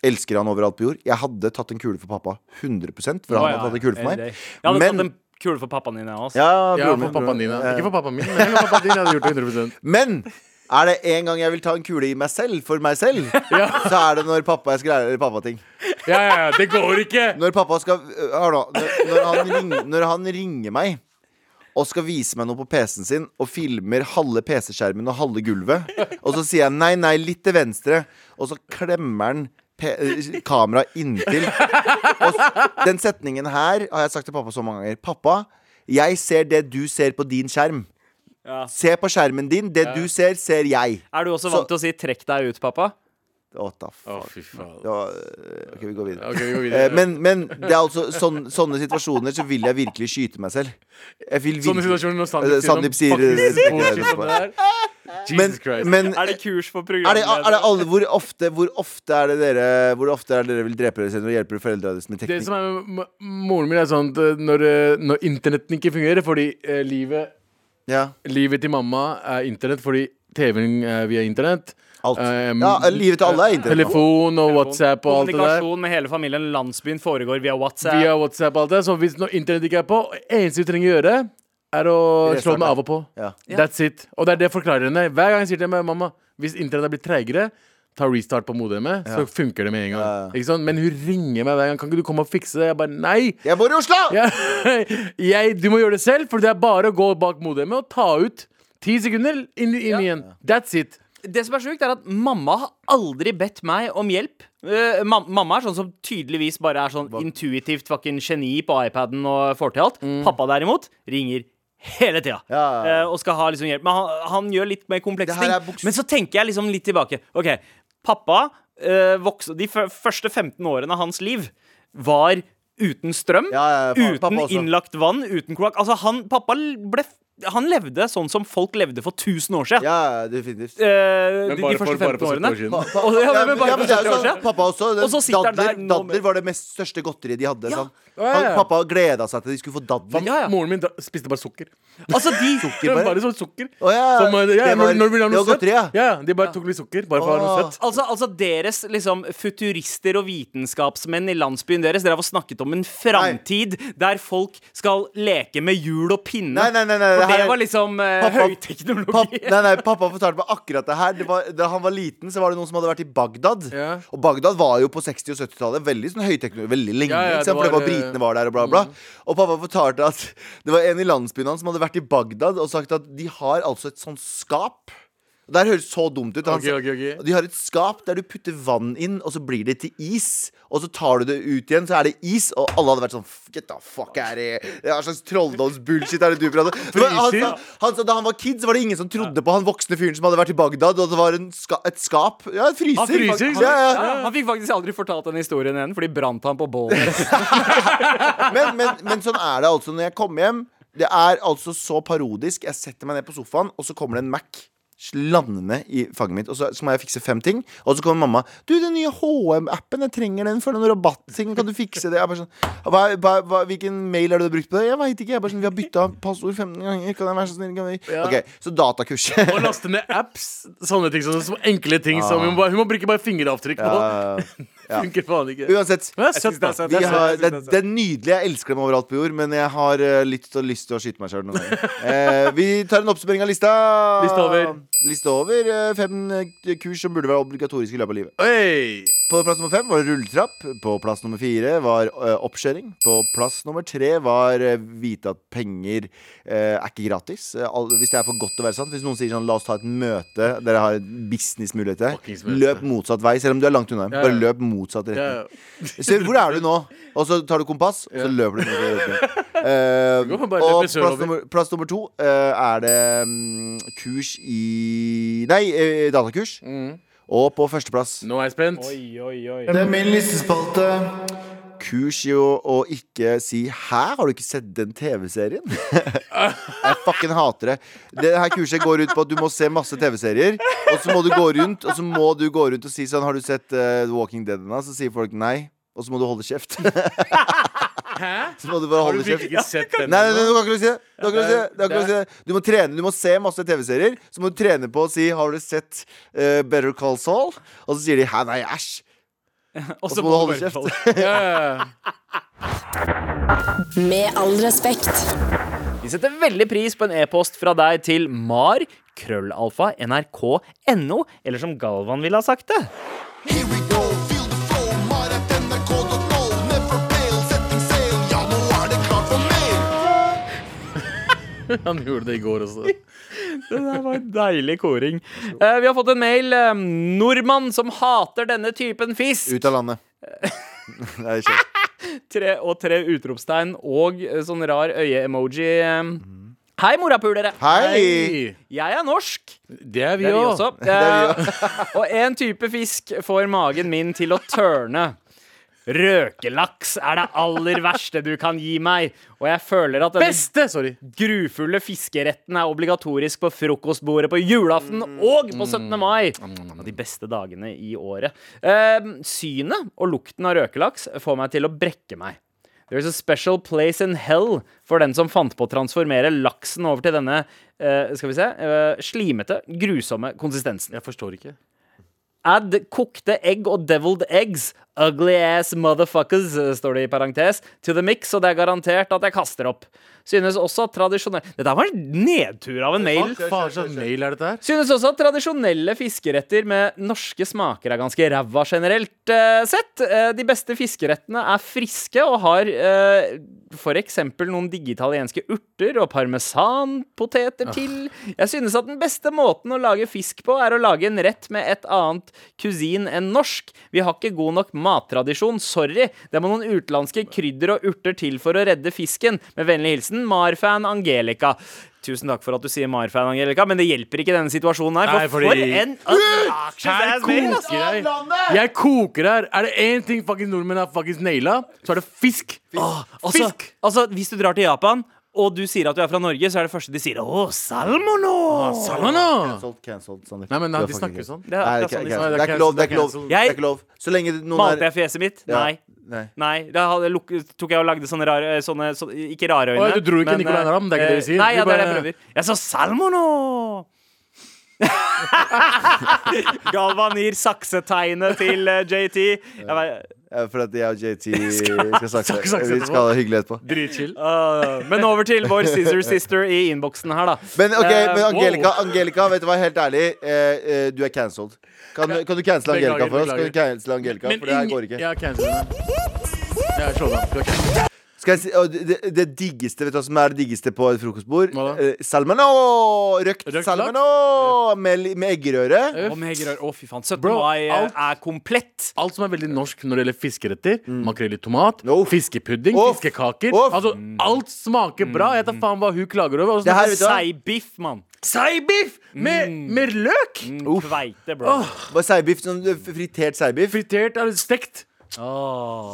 Elsker han overalt på jord. Jeg hadde tatt en kule for pappa. 100 For han
Å, ja,
hadde tatt en kule for meg.
Jeg hadde
Men-
tatt en kule for pappaen din, jeg også.
Ja,
Ja,
broren
for
min,
pappaen
broren-
din. ja.
eh,
Ikke for pappaen min, men for pappaen din hadde jeg gjort det 100
Men er det en gang jeg vil ta en kule i meg selv, for meg selv, så er det når pappa jeg skal lære pappating.
Ja, ja, ja, det går ikke!
Når pappa skal øh, Hør nå. Når, når, han ring, når han ringer meg og skal vise meg noe på PC-en sin og filmer halve PC-skjermen og halve gulvet, og så sier jeg nei, nei, litt til venstre, og så klemmer han pe- øh, kameraet inntil. Og s- den setningen her har jeg sagt til pappa så mange ganger. Pappa, jeg ser det du ser på din skjerm.
Ja.
Se på skjermen din. Det du ser, ser jeg.
Er du også
Så-
vant til å si 'trekk deg ut, pappa'?
What the fuck?
Å, fy faen.
Det var, øh, ok, vi går videre.
Ok, vi går
Eh,
videre.
Men, men det er altså sånn, sånne situasjoner så vil jeg virkelig skyte meg selv. Jeg vil
Sånne
virkelig-
situasjoner når
Eh,
Sandeep
Sandeep sier,
noe fucking
eh,
bullshit som det der.
men,
Jesus Christ.
men
Er det kurs for
er det, er det
programledere?
alle, hvor, ofte, hvor ofte er det dere Hvor ofte er det dere vil drepe dere selv og hjelpe foreldrene deres med
Det
teknikk?
som er med m- moren min, er sånn at eh, når, eh, når internetten ikke fungerer fordi eh, livet,
Ja,
livet til mamma er internett fordi TV-en er via internett.
alt.
Eh,
Ja, livet til alle er internett. nå.
Telefon og WhatsApp og alt det der.
Kommunikasjon med hele familien, landsbyen, foregår via WhatsApp.
Via WhatsApp og alt det. Så hvis når internett ikke er på, eneste vi trenger å gjøre, er å slå den av og på.
Ja.
That's it. Og det er det jeg forklarer henne. Hver gang jeg sier til henne mamma, hvis internettet er blitt treigere, ta restart på modemet, så funker det med en gang.
Ja, ja.
Ikke sant? Men hun ringer meg hver gang. Kan ikke du komme og fikse det? Jeg bare nei!
Jeg bor i Oslo!
Jeg, jeg, du må gjøre det selv, for det er bare å gå bak modemet og ta ut ti sekunder, inn, inn igjen. That's it.
Det som er sjukt, er at mamma har aldri bedt meg om hjelp. Eh, mam mamma er sånn som tydeligvis bare er sånn intuitivt fucking geni på iPaden og får til alt. Pappa derimot ringer hele tida
Mm. Ja, ja, ja.
eh, og skal ha liksom hjelp. Men han, han gjør litt mer komplekse
Det her
ting.
er buks-
Men så tenker jeg liksom litt tilbake. OK, pappa eh, vokste De f første 15 årene av hans liv var uten strøm,
Ja, ja, ja, fa- pappa
uten
også.
innlagt vann, uten kloakk. Altså, han Pappa ble f- han levde sånn som folk levde for 1000 år siden.
Ja, definitivt.
Eh,
Men
de,
bare
de første
for- bare
15
for 70
årene.
år siden.
Og, ja, men, men bare
Ja, men
for
det er
70
jo
år
sånn,
siden.
pappa også.
Og så sitter han
dadler,
der nå med-
dadler var det mest største godteriet de hadde.
Ja.
Sånn.
ja,
Han,
ja.
pappa gleda seg til de skulle få dadler.
Ja, ja.
Moren min da, spiste bare sukker.
Altså, de
Sukker
Det var
bare.
bare sånn sukker.
Å, ja.
Som, eh, ja,
Det
når,
var-
når det blir
det
noe
var
søtt.
godteri, ja.
Ja, ja, de bare tok litt sukker. Bare for å ha noe
Åh.
søtt.
Altså, altså deres liksom, futurister og vitenskapsmenn i landsbyen deres Dere har snakket om en framtid der folk skal leke med hjul og pinne.
Nei, nei, nei, nei, det
For
her
det
er-
var liksom eh,
Pappa-
høyteknologi.
Papp, nei, nei, pappa fortalte meg akkurat det her. Det var, da han var liten, så var det noen som hadde vært i Bagdad.
Ja.
Og Bagdad var jo på 60- og 70-tallet veldig sånn høyteknologi. Veldig lenge,
Ja, ja,
ikke sant?
det
for det
var,
var
eh,
britene var der og bla, bla. Og pappa fortalte at det var en i landsbyen hans som hadde vært i Bagdad og sagt at de har altså et sånt skap. Og Det her høres så dumt ut. Han
Ok,
sa-
ok, ok.
De har et skap der du putter vann inn, og så blir det til is. Og så tar du det ut igjen, så er det is, og alle hadde vært sånn Get the fuck out of here. Hva slags trolldomsbullshit er det du prater om? Det var- Han, sa- han sa da han var kid, så var det ingen som trodde på han voksne fyren som hadde vært i Bagdad, og det var en ska, et skap Ja, et fryser.
Han fryser,
Ja, ja.
Ja, han fikk faktisk aldri fortalt den historien igjen, for de brant han på bålet.
men, men, men sånn er det altså når jeg kommer hjem. Det er altså så parodisk. Jeg setter meg ned på sofaen, og så kommer det en Mac landende i fanget mitt. Og så, så må jeg fikse fem ting. Og så kommer mamma. 'Du, den nye HM-appen, jeg trenger den for noen rabatting. Kan du fikse det?' Jeg er bare sånn hva, hva, hva, 'Hvilken mail har du brukt på det?' 'Jeg veit ikke.' Jeg er bare sånn 'Vi har bytta passord 15 ganger. Kan jeg være så snill?' Kan vi? Ok, så datakurs.
Og laste ned apps. Sånne ting, sånne, små enkle ting som hun, må bare, hun må bruke bare fingeravtrykk på.
Ja, ja.
Funker faen ikke.
Uansett.
Men det er søtt, da.
synes det er søtt.
Vi har,
jeg
det,
synes det er
det er nydelig. Jeg elsker dem overalt på jord, men jeg har eh, litt og lyst til å skyte meg sjøl noen ganger. Eh, vi tar en oppsummering av lista.
Lista over.
Lista over eh, fem eh, kurs som burde være obligatoriske i løpet av livet.
Oi.
På plass nummer fem var det rulletrapp. På plass nummer fire var eh, oppkjøring. På plass nummer tre var eh, vite at penger eh, er ikke gratis. Eh, all, hvis det er for godt til å være sant. Hvis noen sier sånn la oss ta et møte, dere har en businessmulighet
Fuckings
til,
møte.
løp motsatt vei. Selv om du er langt unna.
Ja, ja.
Bare løp motsatt retning.
Ja, ja.
Se, hvor er du nå? Og så tar du kompass, og så
Ja.
løper du. nedover øyeblikket. Eh,
Du kan bare løpe
og
sørover.
plass nummer, plass nummer to eh, er det mm, kurs i Nei, eh, datakurs.
Mm.
Og på førsteplass
Nå er jeg spent.
Det er min listespalte.
kurs i å, å ikke si 'hæ, har du ikke sett den TV-serien?' jeg fucking hater det. Det her kurset går ut på at du må se masse TV-serier, og så må du gå rundt Og så må du gå rundt og si sånn 'Har du sett eh, The Walking Dead?' ennå?" Så sier folk nei, og så må du holde kjeft.
Hæ?
så må du bare
Har
holde
du
kjeft.
virkelig ikke sett den?
Nei, nei, nei, du kan ikke si det. Du, kan ikke si det. Du, kan
det-
ikke si det. du må trene, du må se masse TV-serier. Så må du trene på å si 'Har du sett eh, Better Call Saul?' Og så sier de 'Hæ, nei, æsj'. Og så må du holde kjeft.
Ja, ja, ja.
Med all respekt.
Vi setter veldig pris på en e-post fra deg til mar krøllalfa nrk.no, eller som Galvan ville ha sagt det.
Here we go, feel the flow, mar at nrk.no, never fail, setting sail, ja nå er det klart for mail.
Han gjorde det i går også.
Det der var en deilig koring. Eh, vi har fått en mail. eh, nordmann som hater denne typen fisk.
Ut av landet. Nei, ikke.
Tre og tre utropstegn og eh, sånn rar øye-emoji. eh. Hei, morapulere.
Hei!
Jeg er norsk.
Det er vi
Det er vi også.
òg.
Eh, og en type fisk får magen min til å tørne. Røkelaks er det aller verste du kan gi meg, og jeg føler at denne
Beste! Sorry.
grufulle fiskeretten er obligatorisk på frokostbordet på julaften
Mm.
og på 17. mai. En av de beste dagene i året. Ehm, synet og lukten av røkelaks får meg til å brekke meg. There's a special place in hell for den som fant på å transformere laksen over til denne eh, skal vi se, eh, slimete, grusomme konsistensen.
Jeg forstår ikke.
Add kokte egg og deviled eggs. Ugly ass motherfuckers, eh, står det i parentes. To the mix, og det er garantert at jeg kaster opp. Synes også at tradisjonell Dette var en nedtur av en mail.
Hva faen slags mail er dette her?
Synes også at tradisjonelle fiskeretter med norske smaker er ganske ræva generelt eh, sett. Eh, de beste fiskerettene er friske og har eh, for eksempel noen digge italienske urter og parmesanpoteter til. Jeg synes at den beste måten å lage fisk på er å lage en rett med et annet kusin enn norsk. Vi har ikke god nok mattradisjon, sorry. Det må noen utenlandske krydder og urter til for å redde fisken. Med vennlig hilsen Marfan Angelica. Tusen takk for at du sier Marfan, Angelica, men det hjelper ikke i denne situasjonen her. For,
Nei, fordi-
for en obnoxious
Her
ass mail, ass.
koker jeg. Ah. Jeg koker her. Er det én ting fucking nordmenn har fucking naila, så er det fisk. Ah. Åh,
Altså,
fisk.
altså, hvis du drar til Japan og du sier at du er fra Norge, så er det første de sier 'Å, Salmono'!
Salana!
Cancelled, cancelled, Sander.
Nei, men
Du er
de
fucking
snakker
cancelled.
sånn.
Det er
Nei,
akkurat
det er ikke-
sånn de snakker.
Nei,
det er ikke lov. Det er ikke lov.
cancelled.
Det er
Jeg-
ikke lov. Så lenge noen
Malte
er
jeg fjeset mitt?
Ja.
Nei.
Nei.
Nei, da hadde jeg luk tok jeg og lagde sånne rare eh, sånne, så, Ikke rare øyne.
Oi, du dro ikke
men,
Nicolai
eh,
Ramm, det er ikke det vi sier.
Nei,
Du
ja, det er det
bare-
jeg prøver. Jeg sa Salmono! Galvan gir saksetegnet til eh, JT. Jeg vet,
Ja, For at jeg og JT skal snakke.
snakke
Vi skal ha det hyggelig etterpå.
Dritchill.
øh, men over til vår Scissor Sister i innboksen her, da.
Men ok,
Eh,
men Angelica,
wow.
Angelica vet du hva, helt ærlig, eh, eh, du er cancelled. Kan, kan du cancele
Beklager,
Angelica for oss? Kan
beklager.
du cancele Angelica, for det her går ikke.
Ja, cancel den. Ja, slå den. Du er cancel.
Skal jeg si, og det, det diggeste, vet du hva som er det diggeste på et frokostbord?
Hva da?
Eh, salmano! Røkt,
Røkt
salmano! Med, li- med eggerøre.
Å, med eggerør. Å, fy faen. 17.
Bro,
mai eh,
alt-
er komplett.
Alt som er veldig norsk når det gjelder fiskeretter.
Mm.
Makrell i tomat,
No.
fiskepudding,
Off.
fiskekaker.
Off.
Altså, alt smaker bra. Jeg tar faen hva hun klager over. Altså, Og så
Mm. Det her, Mm.
snakker
vet du hva?
Seibiff, mann.
Seibiff med, med løk!
Kveite, bro.
Bare Seibiff, sånn eh, fritert seibiff.
Fritert eller stekt.
Satan.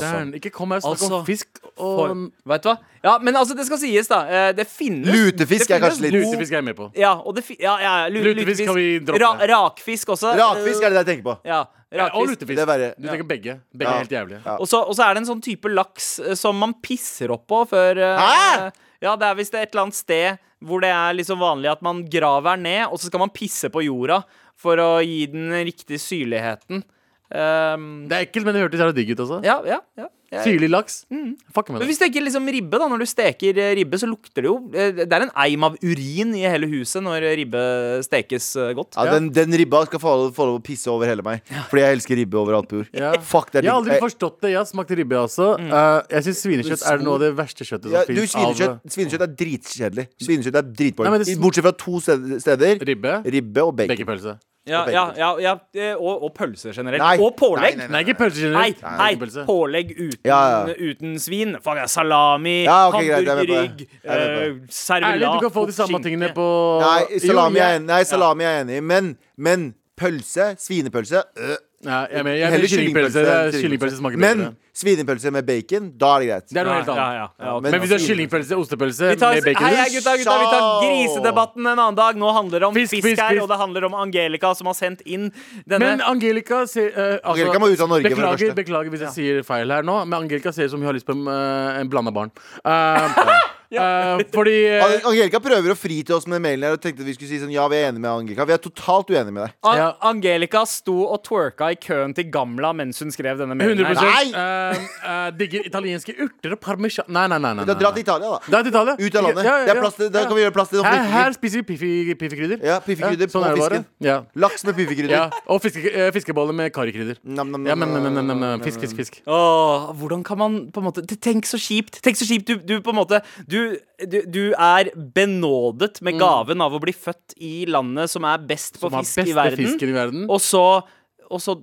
Dæren, ikke kom her og snakk
Altså,
om fisk
For,
og
vet du hva? Ja, men altså, det skal sies, da. Eh, Det finnes
Lutefisk
det
er kanskje
finnes
litt-
god-
Lutefisk er jeg med på.
Ja, og det fi ja, ja, ja, lu-
Lutefisk kan vi droppe.
Ra rakfisk også.
Rakfisk er det jeg tenker på.
Ja,
Og
rakfisk.
lutefisk.
Det er verre.
Du tenker begge. Begge
Ja.
er helt jævlige.
Ja.
Og så og så er det en sånn type laks eh, som man pisser opp på før eh,
Hæ?
Ja, det er hvis det er et eller annet sted hvor det er liksom vanlig at man graver ned, og så skal man pisse på jorda for å gi den riktige syrligheten. Ehm,
Det er ekkelt, men det hørtes jævla digg ut, altså.
ja, ja, ja. Jeg-
Syrlig laks.
Mm.
Fuck med
Men
det.
hvis du tenker liksom ribbe, da. Når du steker eh, ribbe, så lukter det jo eh, Det er en eim av urin i hele huset når ribbe stekes eh, godt.
Ja, den, den ribba skal få lov- få lov å pisse over hele meg, fordi jeg elsker ribbe overalt på jord.
Ja.
Fuck, det er
Jeg har aldri
digg.
forstått det. Jeg har smakt ribbe også. Eh, jeg syns svinekjøtt er noe av det verste kjøttet som
Mm. Ja, du,
finnes
svinekjøtt, svinekjøtt er dritkjedelig. Svinekjøtt er
Nei,
dritboring.
men det-
Bortsett fra to sted- steder.
av ribbe.
Ribbe og bacon.
Bekepølse.
Ja,
Og
ja,
bacon.
ja, ja, eh, og, og pølser generelt.
Nei.
Og pålegg.
Nei,
Nei,
Nei, ikke pølse
nei,
generelt. Bekepølse.
Pålegg uten,
Ja, ja.
uten svin. Fuck, ja, salami,
Ja, ok, greit, jeg er med på
hamburgerrygg,
det. Jeg er med
eh, servelat
Ærlig, du kan få
og
de samme
skinke.
tingene på
Nei, salami,
Jo,
er, enig- nei, salami er jeg enig i, men, men pølse, svinepølse øh,
Nei, jeg er med. Jeg er med kyllingpølse. Det er- Kyllingpølse smaker
Men
bedre.
svinepølse med bacon, da er det greit.
Det er noe
Ja,
helt
ja,
annet.
ja, ja, ok.
Men- altså-
Men hvis det er kyllingpølse, ostepølse
Vi tar,
med
hei, hei,
baconlus
gutta, gutta, vi tar grisedebatten en annen dag. Nå handler det om
Fisk,
fisk,
fisk,
her,
fisk.
og det handler om Angelica, som har sendt inn denne.
Men Angelica ser eh, altså,
Angelica må ut av Norge, for det
beklager,
første.
Beklager hvis jeg sier feil her nå, men Angelica ser ut som hun har lyst på en, eh, en blanda barn. Eh, eh, fordi eh,
Ang- Angelica prøver å fri til oss med mailen her og tenkte vi skulle si sånn ja, vi er enige med Angelica. Vi er totalt uenige med deg.
An
Ja.
Angelica sto og twerka i køen til Gamla mens hun skrev denne mailen.
100
her.
Nei!
eh, eh, digger italienske urter og parmesan Nei, nei, nei. nei,
Da
nei,
dra
nei.
til Italia, da.
Dra til Italia.
Ut av landet.
Ja, ja,
Det er
ja.
plass til, der kan vi gjøre plass til sånn
Her,
fiskekrydder.
her spiser vi piffi- piffekrydder.
Ja, piffekrydder på
er det bare.
fisken.
Ja.
Laks med
ja.
piffekrydder.
Og fiske, eh, fiskeboller med karikrydder.
Nam, nam, nam,
Ja, men, men, men, men,
nam,
men,
nam.
fisk, fisk, fisk.
Åh, hvordan kan man på en måte t- Tenk så kjipt! Tenk så kjipt Du, du på en måte du, du, du er benådet med gaven av å bli født i landet som er best på
Som har
fisk i
beste
verden.
fisken i verden.
Og så, og så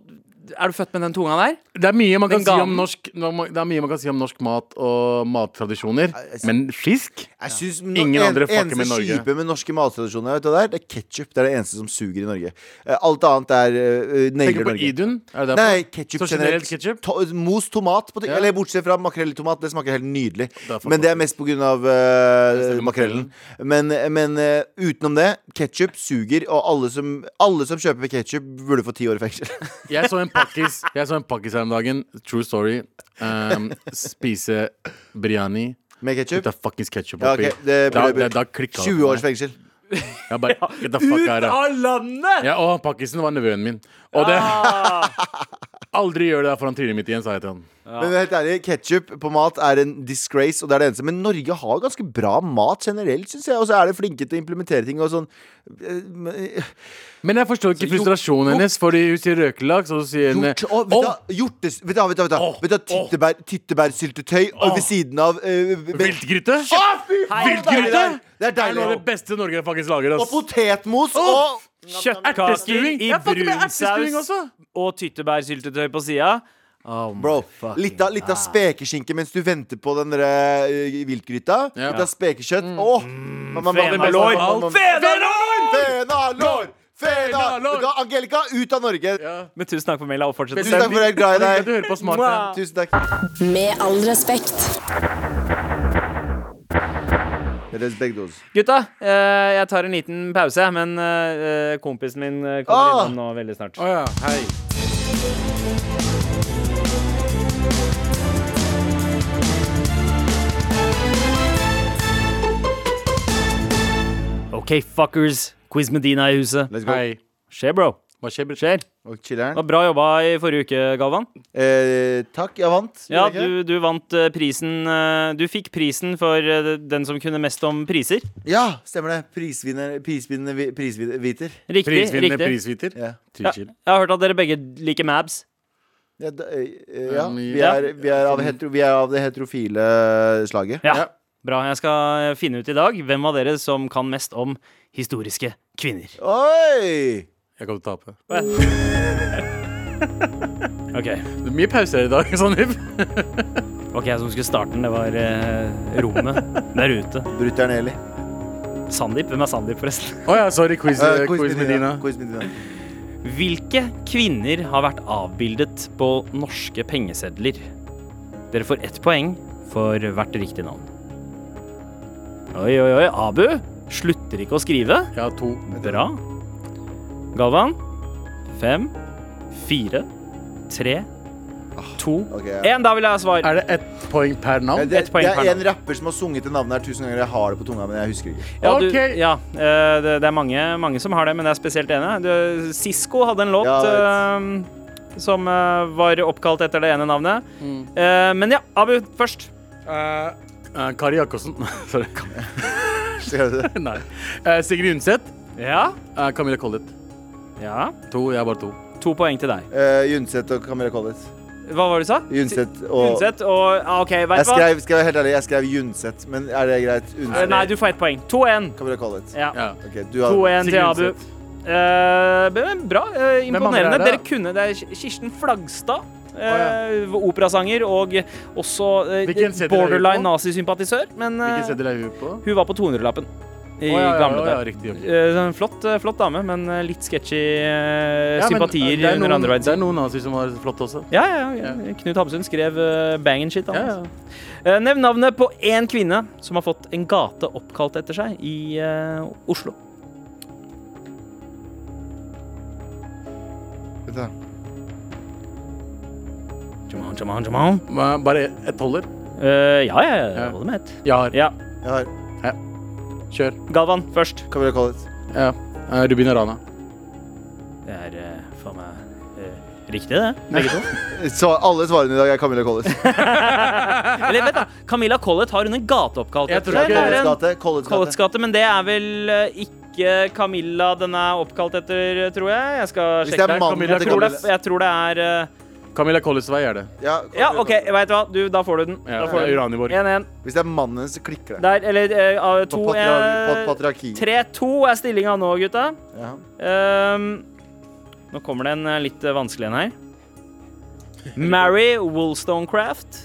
er du født med den tunga der?
Det er mye man kan si
veganen.
om norsk Det er mye man kan si om norsk mat og mattradisjoner, men fisk?
Jeg synes no
Ingen andre fucker
eneste
med Norge.
kjipe med norske mattradisjoner vet du hva det er, det er ketsjup. Det er det eneste som suger i Norge. Eh, Alt annet er uh,
Tenker
nailer
på
Norge.
Idun? Er det derfor?
Nei, ketsjup
Så generelt ketchup?
To most tomat, på ting,
Ja.
eller bortsett fra makrell i tomat. Det smaker helt nydelig.
er for
men det er mest på grunn av eh,
stemmer,
makrellen. Men, men eh, utenom det, ketsjup suger, og alle som, alle som kjøper ketsjup, burde få ti år i fengsel.
Jeg så en pakkis Jeg så en pakkis her om dagen. True story. Um, spise biryani.
Med
Get
ketsjup.
the fuckings ketchup
Ja,
oppi.
ok, det
da,
ble-
da, da klikka det
20
for
års
meg.
fengsel.
Jeg bare, Get the fuck out of
landet!
ja, Og pakkisen var nevøen min. Og det
Ah.
Aldri gjør det der foran trynet mitt igjen, sa jeg til han.
Men helt ærlig, ketsjup på mat er en disgrace, og det er det eneste. Men Norge har ganske bra mat generelt, syns jeg. Og så er de flinke til å implementere ting og sånn. eh, men-
Men jeg forstår
Så
ikke
hjort-
frustrasjonen hennes, fordi hun sier røkelaks, og så sier hun
Hjort, å, vet du,
Å,
hva, hjortes... Vet du, hva, vet du, hva, vet du, hva,
eh, Åh,
vet du, hva, tyttebær, tyttebærsyltetøy, og ved siden av eh, vel-
Viltgryte?
Deilig
Viltgryte?
der. Det er
Det er noe
deilig.
av det beste Norge faktisk lager.
Og
Ass.
potetmos og
Kjøttkaker i brun saus
også.
og tyttebærsyltetøy på sida. Oh, my
Bro,
fucking
litt av, litt av spekeskinke mens du venter på den der eh, viltgryta.
Ja.
Litt av spekekjøtt. Åh! Mamma, mamma, mamma,
Fenalår!
mamma, mamma.
Fenalår!
Fenalår! Fenalår!
Fenalår!
Vet du hva, Angelica, ut av Norge!
Men tusen takk for maila, og fortsett å
Tusen takk
sende.
for at jeg er glad i
Kan du
deg.
høre på smaken?
Tusen takk.
Med all respekt.
Respektos.
Gutta, eh, jeg tar en liten pause, men eh, kompisen min eh, kommer
Ah!
innom nå veldig snart.
Å ja, hei.
OK, fuckers. Quiz Medina i huset.
Let's go.
Hei.
Skjer, bro.
Hva skjer, Britt?
Skjer. Det
Og chiller'n.
var bra jobba i forrige uke, Galvan.
Eh, takk, jeg vant. gjorde
Ja,
jeg ikke
du, du vant eh, prisen eh, Du fikk prisen for eh, den som kunne mest om priser.
det? ja stemmer det. Prisvinner, prisvinner, vi- prisviter.
Riktig.
Prisvinnende
riktig.
prisviter.
Ja.
Ja,
Chill.
jeg har hørt at dere begge liker Mabs.
Ja, da, eh, ja.
Um,
Vi,
ja.
er, vi, er av hetero, vi er av det heterofile slaget.
Ja. Bra. Jeg skal eh, finne ut i dag hvem av dere som kan mest om historiske kvinner.
Oi!
Jeg kommer til å tape.
OK.
Det er mye pauser i dag, Sandeep.
Det var ikke jeg som skulle starte den, det var eh, rommet der ute.
Brutter'n Eli.
Sandeep? Hvem er Sandeep, forresten?
Å ja, sorry. Quiz,
Eh,
quiz, Medina.
Quiz Medina.
Hvilke kvinner har vært avbildet på norske pengesedler? Dere får ett poeng for hvert riktig navn. Oi, oi, oi. Abu slutter ikke å skrive.
Jeg har to.
Bra. Galvan. Fem, fire, tre, to,
Ah, Ok, ja.
én. Da vil jeg ha svar.
Er det ett poeng
Ja,
per navn?
Det,
Ett poeng
det er
per navn.
en rapper som har sunget det navnet her tusen ganger. Jeg har det på tunga, men jeg husker ikke.
Ja, du,
Ok.
ja eh, det, det er mange, mange som har det, men det er spesielt ene. Du, Sisko hadde en låt
Ja, jeg
eh, som eh, var oppkalt etter det ene navnet.
Mm.
Eh, men ja, Abu først.
Eh, eh, Kari Jakobsen. sorry.
Skal jeg-
Nei. Eh, Sigrid Undset.
Ja.
Eh, Camilla Collett.
ja.
To. Jeg har bare to.
To poeng til deg.
Eh, Jundset og Camilla Collett.
Hva var det du sa?
Jundset og
Undset og ah, OK,
Jeg
veit du hva?
skrev, skal jeg være helt ærlig, jeg skrev Jundset, men er det greit?
Eh,
Undset.
Nei, du får ett poeng. 2-1.
Camilla Collett.
Ja.
Ja.
Ok, du har
2-1 til
Sigrid
Abu.
Undset.
Eh, men bra. eh,
andre
imponerende.
er det?
Dere kunne Det er Kir- Kirsten Flagstad. eh, Operasanger og også eh,
Hvilken seddel er hun
borderline
på?
nazisympatisør. Men eh,
Hvilken seddel er hun på?
hun var på 200-lappen i
Å, ja, ja,
gamle
å, ja,
dager.
riktig, ok.
Eh, sånn flott, eh, flott dame, men eh, litt sketchy eh,
Ja, men, eh,
sympatier
det er
under
noen-
andre
Det er
verdenskrig.
noen nazier som var flotte også.
Ja, ja, ja, Knut Hamsun skrev uh, bangin' shit. han,
Ja, ja.
altså. Eh, nevn navnet på én kvinne som har fått en gate oppkalt etter seg i eh, Oslo.
Vent da.
Jamal, Jamal, Jamal.
Men Bare ett holder.
Eh, ja, ja, ja.
Ja.
Hva det het.
Jeg har.
Ja.
Jeg har
Kjør.
Galvan først.
Camilla Collett.
Ja. Eh, Rubina Rana.
Det er eh, faen meg eh, riktig, det. Begge to.
Så alle svarene i dag er Camilla Collett.
Eller vent, da. Camilla Collett har hun en gate oppkalt
Jeg
etter
tror
seg.
ikke
Det er
Colletts
en
gate. Colletts
Colletts
gate.
gate, men det er vel eh, ikke Camilla den er oppkalt etter, eh, tror jeg. Jeg skal
Hvis det
sjekke.
er
her.
mannen
Camilla
til
Jeg tror det,
Camilla
jeg tror det er eh,
Camilla Colletts vei er det.
ja,
Ja,
Camilla
OK,
Collett.
veit du hva. Du, da får du den.
Ja,
Da får du den.
Uraniborg.
1-1.
Hvis det er mannen, så klikker det.
Der, eller eh, av
På
to
patriar-
eh,
pat- patriarki.
3-2 er stillinga nå, gutta.
Ja.
Ehm, nå kommer det en eh, litt eh, vanskelig en her. Mary Wollstonecraft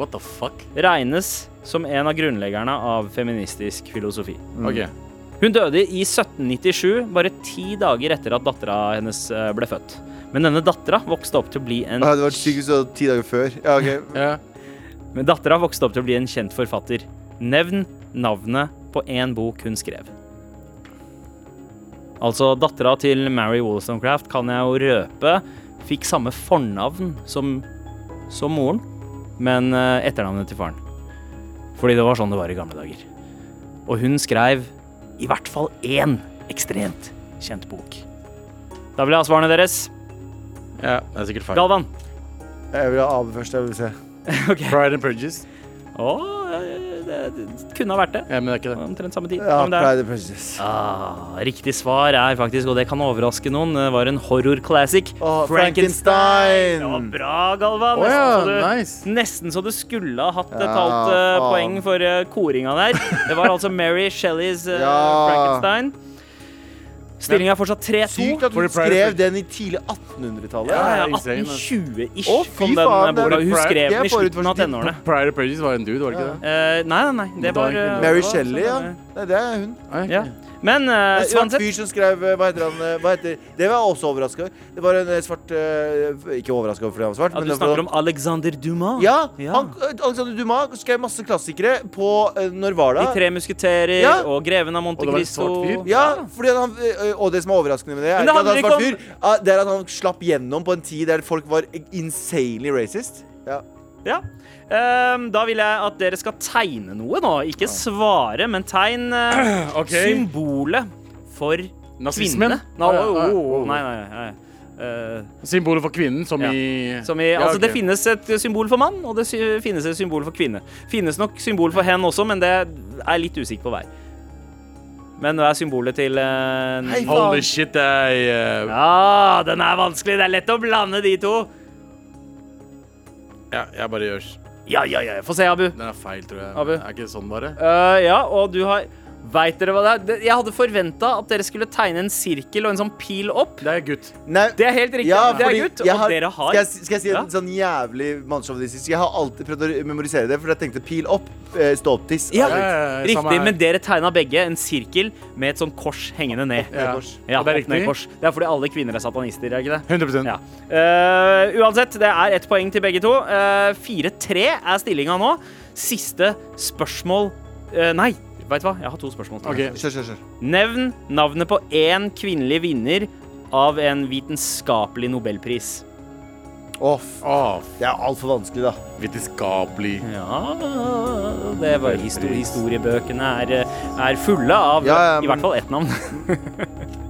What the fuck?
regnes som en av grunnleggerne av feministisk filosofi.
Ok.
Hun døde i 1797, bare ti dager etter at dattera hennes eh, ble født. Men denne dattera vokste opp til å bli en
Ah, det var sykehus og ti dager før. Ja, ok.
Ja.
Men dattera vokste opp til å bli en kjent forfatter. Nevn navnet på én bok hun skrev. Altså, dattera til Mary Wollstonecraft kan jeg jo røpe fikk samme fornavn som, som moren, men eh, etternavnet til faren. Fordi det var sånn det var i gamle dager. Og hun skrev i hvert fall én ekstremt kjent bok. Da vil jeg ha svarene deres.
ja. Det er sikkert feil.
Galvan.
Jeg vil ha Abu først. Jeg vil se.
Pride and Prejudice.
Å, eh, det, det kunne ha vært det.
Ja, men det er ikke det.
Omtrent samme tid.
Ja,
Ja, men det er-
Pride and Prejudice.
Ah, riktig svar er faktisk, og det kan overraske noen, det var en horror-classic.
Å,
Frankenstein!
Frankenstein!
Det altså, var bra,
Å
Galvan. Nesten
ja,
så du-
nice.
Nesten så du skulle ha hatt et
Ja,
halvt eh,
faen.
poeng for eh, koringa der. Det var altså Mary Shelleys eh,
Ja.
Frankenstein. Stillinga er fortsatt 3-2.
Sykt at
For
hun
the Pride
skrev
and-
den i tidlig 1800-tallet.
Ja, ja,
Det er insane, ass.
1820-ish
Å,
kom
fy
den
faen,
eh,
det er
boka. Hun
Pride-
skrev
det er
den i slutten
forut for
av
sin tid.
tenårene.
Pride and Prejudice var en dude, var det ikke det?
Eh, nei, nei, nei. Det
Da er
var
det ikke
eh,
noe.
Mary
det var
Shelley, ja.
sånn,
Nei, det er hun.
Ah, ok.
Ja. Men eh,
En svart
uansett
fyr som skrev eh, Hva heter han? eh, Hva heter, det var jeg også overraska over. Det var en eh, svart eh, Ikke overraska over fordi han var svart.
ja, Du
det var-
snakker om Alexander Dumas.
ja,
Ja.
Han, eh, Alexander Dumas skrev masse klassikere på eh, når var
De
det?
tre musketerer
Ja.
og Greven av Monte
Og det var en svart
Cristo.
fyr.
Ja, fordi at han, ø, og det som er overraskende med det, er
Men liksom- det
ikke at han
handler
var
ikke
fyr, ah, det er at han slapp gjennom på en tid der folk var insanely racist. Ja.
Ja. Ehm, da vil jeg at dere skal tegne noe nå. Ikke svare, men tegn eh,
Ok.
symbolet for
Nazismen?
kvinnene. Nå,
Å, ja,
å,
ja,
å,
å. oh.
Nei, nei, nei. Eh,
Symbolet for kvinnen, som
Ja.
i
som i,
Ja,
altså
ok.
Det finnes et symbol for mann, og det sy finnes et symbol for kvinne. Finnes nok symbol for hen også, men det er jeg litt usikker på hver. Men hva er symbolet til eh,
Hei, faen.
Holy shit, det er eh,
Ja, den er vanskelig. Det er lett å blande de to.
Ja, jeg bare gjør
Ja, ja, ja. Få se, Abu.
Den er feil, tror jeg.
Abu.
Er ikke det sånn, bare?
Eh, ja, og du har Veit dere hva det er? Det- Jeg hadde forventa at dere skulle tegne en sirkel og en sånn pil opp.
Det er gutt.
Nei,
Det er helt riktig.
ja,
det
fordi
er gutt.
jeg
Og
har-
dere har
Skal jeg, si- skal jeg si en
Ja.
sånn jævlig mannssjåvinistisk Jeg har alltid prøvd å memorisere det, for jeg tenkte pil opp, eh, stå opp, tiss.
Ja,
Ja, ja, ja, samme
Riktig,
her.
men dere tegna begge en sirkel med et sånn kors hengende ned.
Ja.
kors.
Ja,
Og det er
opp ned
riktig.
kors. Det er fordi alle kvinner er satanister, er det ikke det?
100
Ja. Eh, uansett, det er ett poeng til begge to. Eh, 4-3 er stillinga nå. Siste spørsmål Eh, Nei, veit du hva? Jeg har to spørsmål. til.
OK.
Kjør, kjør, kjør.
Nevn navnet på én kvinnelig vinner av en vitenskapelig nobelpris.
Off.
Å,
Det er altfor vanskelig, da.
vitenskapelig.
Ja det var histor Historiebøkene er, eh, er fulle av
Ja, ja,
i
men-
hvert fall ett navn.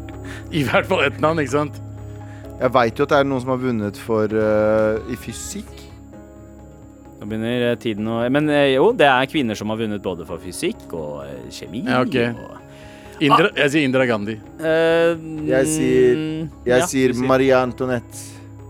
I hvert fall ett navn, ikke sant?
Jeg veit jo at det er noen som har vunnet for eh, i fysikk.
Nå begynner eh, tiden å Men eh, jo, det er kvinner som har vunnet både for fysikk og eh, kjemi.
Ja, ok.
og,
Ah.
Indra, jeg sier Indira Gandhi.
eh, mm,
Jeg sier- Jeg
ja,
sier
du
Marie Antoinette.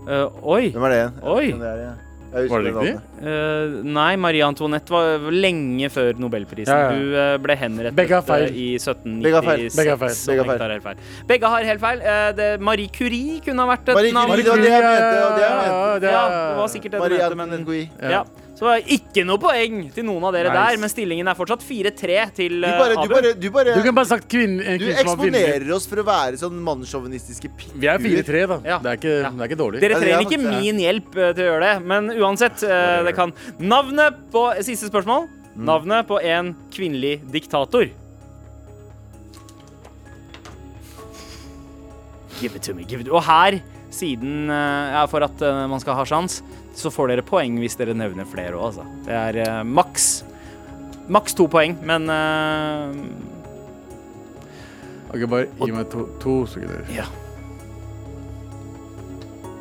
Eh, oi.
Hvem er det igjen?
Oi.
Jeg vet ikke hvem det er, ja. Jeg husker
Var det riktig?
navnet.
Eh, nei, Marie Antoinette var lenge før nobelprisen.
Ja, ja.
Hun eh, ble henrettet
Begge har feil.
eh, i 1796.
Begge har feil.
Begge har feil.
så
Begge har
Bengt helt feil. Begge har helt feil. Eh, det, Marie Curie kunne ha vært et
Marie
navn.
Curie, det var det jeg mente. og det jeg mente.
Ja,
ja, det var sikkert det du
Marie
mente,
Antoinette
men
Gouy.
ja. Så det var ikke noe poeng til noen av
Nice.
dere der, men stillingen er fortsatt 4-3 til
Du
eh,
bare, du
Abu.
bare, du bare
Du kan bare sagt kvinne, en
Du
kvinne som har vunnet.
eksponerer oss for å være sånn mannssjåvinistiske
Vi er 4-3, da.
Ja.
Det, er ikke, det er ikke dårlig.
Dere
Ja, det er
trenger ikke
faktisk det.
min hjelp eh, til å gjøre det, men uansett, eh, det kan Navnet på Siste spørsmål.
Mm.
Navnet på en kvinnelig diktator. Give it to me, give it Og her, siden eh, ja, For at eh, man skal ha sjans, så får dere poeng hvis dere nevner flere òg, altså. Det er eh, maks Maks to poeng, men eh,
Ok, bare gi meg to, to sekunder.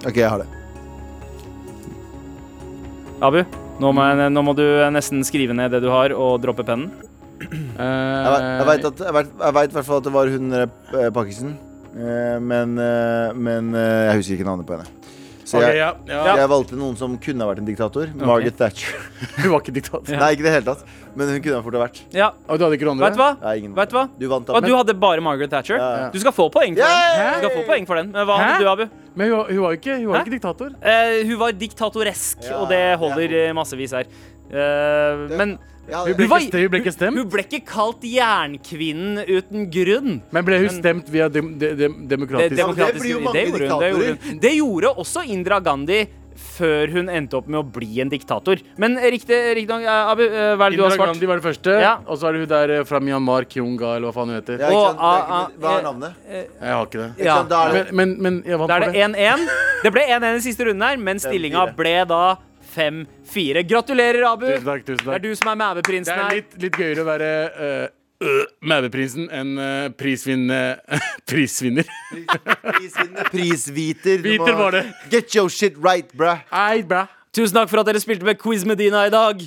OK, jeg har det.
Abu, nå må, jeg, nå må du eh, nesten skrive ned det du har, og droppe pennen.
Eh,
Jeg ve- jeg vet at- Jeg vet- jeg vet i hvert fall at det var hun eh, eh, Pakkisen, Eh, men, eh, men eh, jeg husker ikke navnet på henne. Så jeg,
ja, ja.
jeg valgte noen som kunne ha vært en diktator. Margaret Thatcher.
Hun var ikke diktat.
Nei, ikke i det hele tatt, men hun kunne ha fort ha vært.
Ja,
Og du hadde ikke noen
vet du
andre?
hva?
Nei, ingen.
Vet du hva?
Du vant, da.
Og du hadde bare Margaret Thatcher?
Ja, ja.
Du skal få poeng for
Yay!
den. Du skal få poeng for den. Men hva
Hæ?
hadde du, Abu?
Men hun, var- hun var jo ikke, hun var
Hæ?
ikke diktator.
Eh, hun var diktatoresk,
Ja,
og det
det
holder
er
eh, massevis her. Eh, men
Ja,
Hun
det-
ble,
var-
ikke, ste- hun ble ikke stemt,
hun ble ikke kalt jernkvinnen uten grunn.
men ble hun
men-
stemt via dem, de, dem-
Det,
demokratisk
demokratisk-
blir jo mange
det, gjorde hun, det, gjorde
diktatorer.
hun. det gjorde også Indra Gandhi før hun endte opp med å bli en diktator. Men riktig, riktig nok, eh, Abu, eh, hva er det
Indira
du har svart?
Gandhi var det første,
Ja.
og så er det hun der eh, fra Myanmar, Kyunga, eller hva faen hun heter.
ja, ikke sant? Det
Og,
er ikke- Hva er
ah, ah,
navnet?
Jeg har ikke det.
Ikke sant, da er det-
Men, men, men jeg vant
Da er
for
det
det.
1-1. Det ble 1-1 i siste runden her, men stillinga
Fem-fire.
ble da 5-4. Gratulerer, Abu.
Tusen takk, tusen
Det er
takk.
du som er
Det
mæveprinsen
er
her.
litt, litt gøyere å være uh, Maureprinsen enn eh, prisvinn, eh, prisvinner.
Prisvinner. Prisviter. Du må-
Hviter var det.
Get your shit right, bruh.
Ei, bra.
Tusen takk for at dere spilte med Quiz Medina i dag.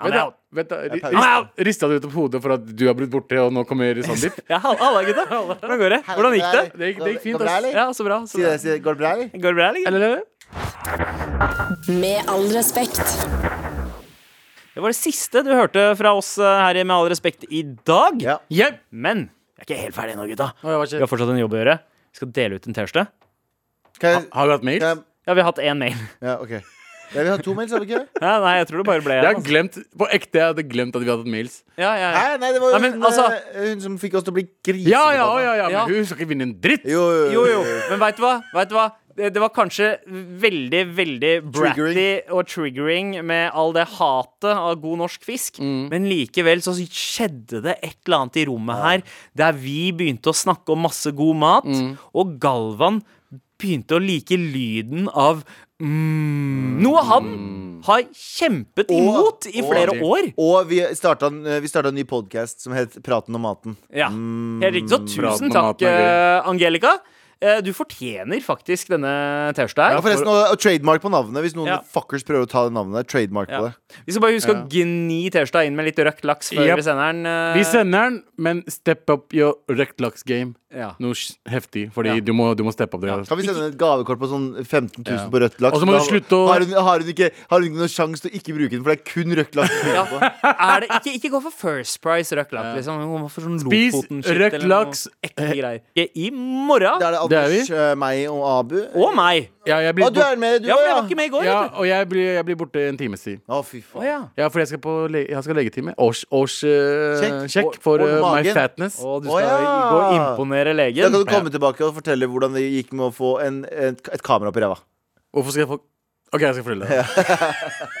Vent, da.
out.
Vent, da. Ri-
pauser.
rist-
I'm out.
Rista du ut opp hodet for at du har blitt borte, og nå kommer Sandeep?
Ja, hall- Halla, gutta. Hvordan går det? Hvordan gikk det?
Det gikk- det gikk
Går
fint,
det bra,
ass.
eller?
Ja, så bra. Så
Si
bra.
det, si det. Går det bra, eller?
Går det bra, eller?
Eller? eller?
Med all respekt.
Det var det siste du hørte fra oss eh, her i Med all respekt i dag.
Ja.
Yep.
Men jeg er ikke helt ferdig ennå, gutta.
Å, jeg var
Vi har
ikke.
fortsatt en jobb å gjøre. Vi skal dele ut en T-skjorte.
Kan jeg,
Har du hatt mail?
kan jeg
Ja, vi har hatt én mail.
Ja, OK. Ja, vi har to mails, har vi ikke?
Ja, nei, jeg tror det bare ble
Jeg har
altså.
glemt, På ekte, jeg hadde glemt at vi hadde hatt mails.
Ja, ja, ja.
Hæ, nei, det var jo
Nei, men,
hun,
altså-
eh, hun som fikk oss til å bli grisete.
Ja, ja, ja, sånn, ja,
Ja.
men hun skal ikke vinne en dritt!
Jo,
Jo, jo, men veit du hva? Vet du hva? Det det var kanskje veldig, veldig bratty og triggering med all det hatet av god norsk fisk, men likevel så skjedde det et eller annet i rommet her der vi begynte å snakke om masse god mat, og Galvan begynte å like lyden av mm, noe han har kjempet imot i
og-
flere år.
Og vi starta, en- vi starta en ny podkast som het Praten om maten.
Ja, helt riktig. Så tusen
praten om
takk,
maten er
eh, Angelica. Eh, Du fortjener faktisk denne T-skjorta her.
Ja, forresten, og, og trademark på navnet. Hvis noen
Ja.
fuckers prøver å ta det navnet. Trademark på
Ja.
det.
Vi skal bare huske å gni T-skjorta inn med litt røkt laks før
Japp.
vi sender den. eh,
Vi sender den, men step up your røkt laks game.
Ja.
Noe s- heftig, fordi du, må, du må steppe opp det.
Kan vi sende et gavekort på sånn 15 000 på rødt laks?
Og så må
Da
du slutte å-
har, hun, har, hun ikke, har hun ikke noen sjanse til å ikke bruke den, for det er kun rødt laks. hun
ja.
prøver på.
Er det, ikke, ikke gå for First Price rødt laks. Liksom. Gå for sånn
Spis
Lofoten-shit
røkt
eller noe
laks.
Ekle greier. I
Det
morgen.
er det
Det er
Anders,
vi.
eh, meg og Abu. Å,
Og meg.
Ja, jeg blir
du
bort,
er med, du
Ja,
òg,
for jeg
ja?
var ikke med i går.
ja,
vet du.
og jeg blir, jeg blir borte en times tid.
Å, fy faen.
Å, ja.
Ja, for jeg skal, på le jeg skal legetime. Års, års eh,
Sjekk.
sjekk
Og-
for
og
eh, my
magen.
fatness.
Og du
Å,
skal
ja.
gå og imponere
Da
legen.
kan du komme tilbake og fortelle hvordan det gikk med å få en, et, et kamera opp i ræva.
Hvorfor skal jeg få OK, jeg skal fortelle deg.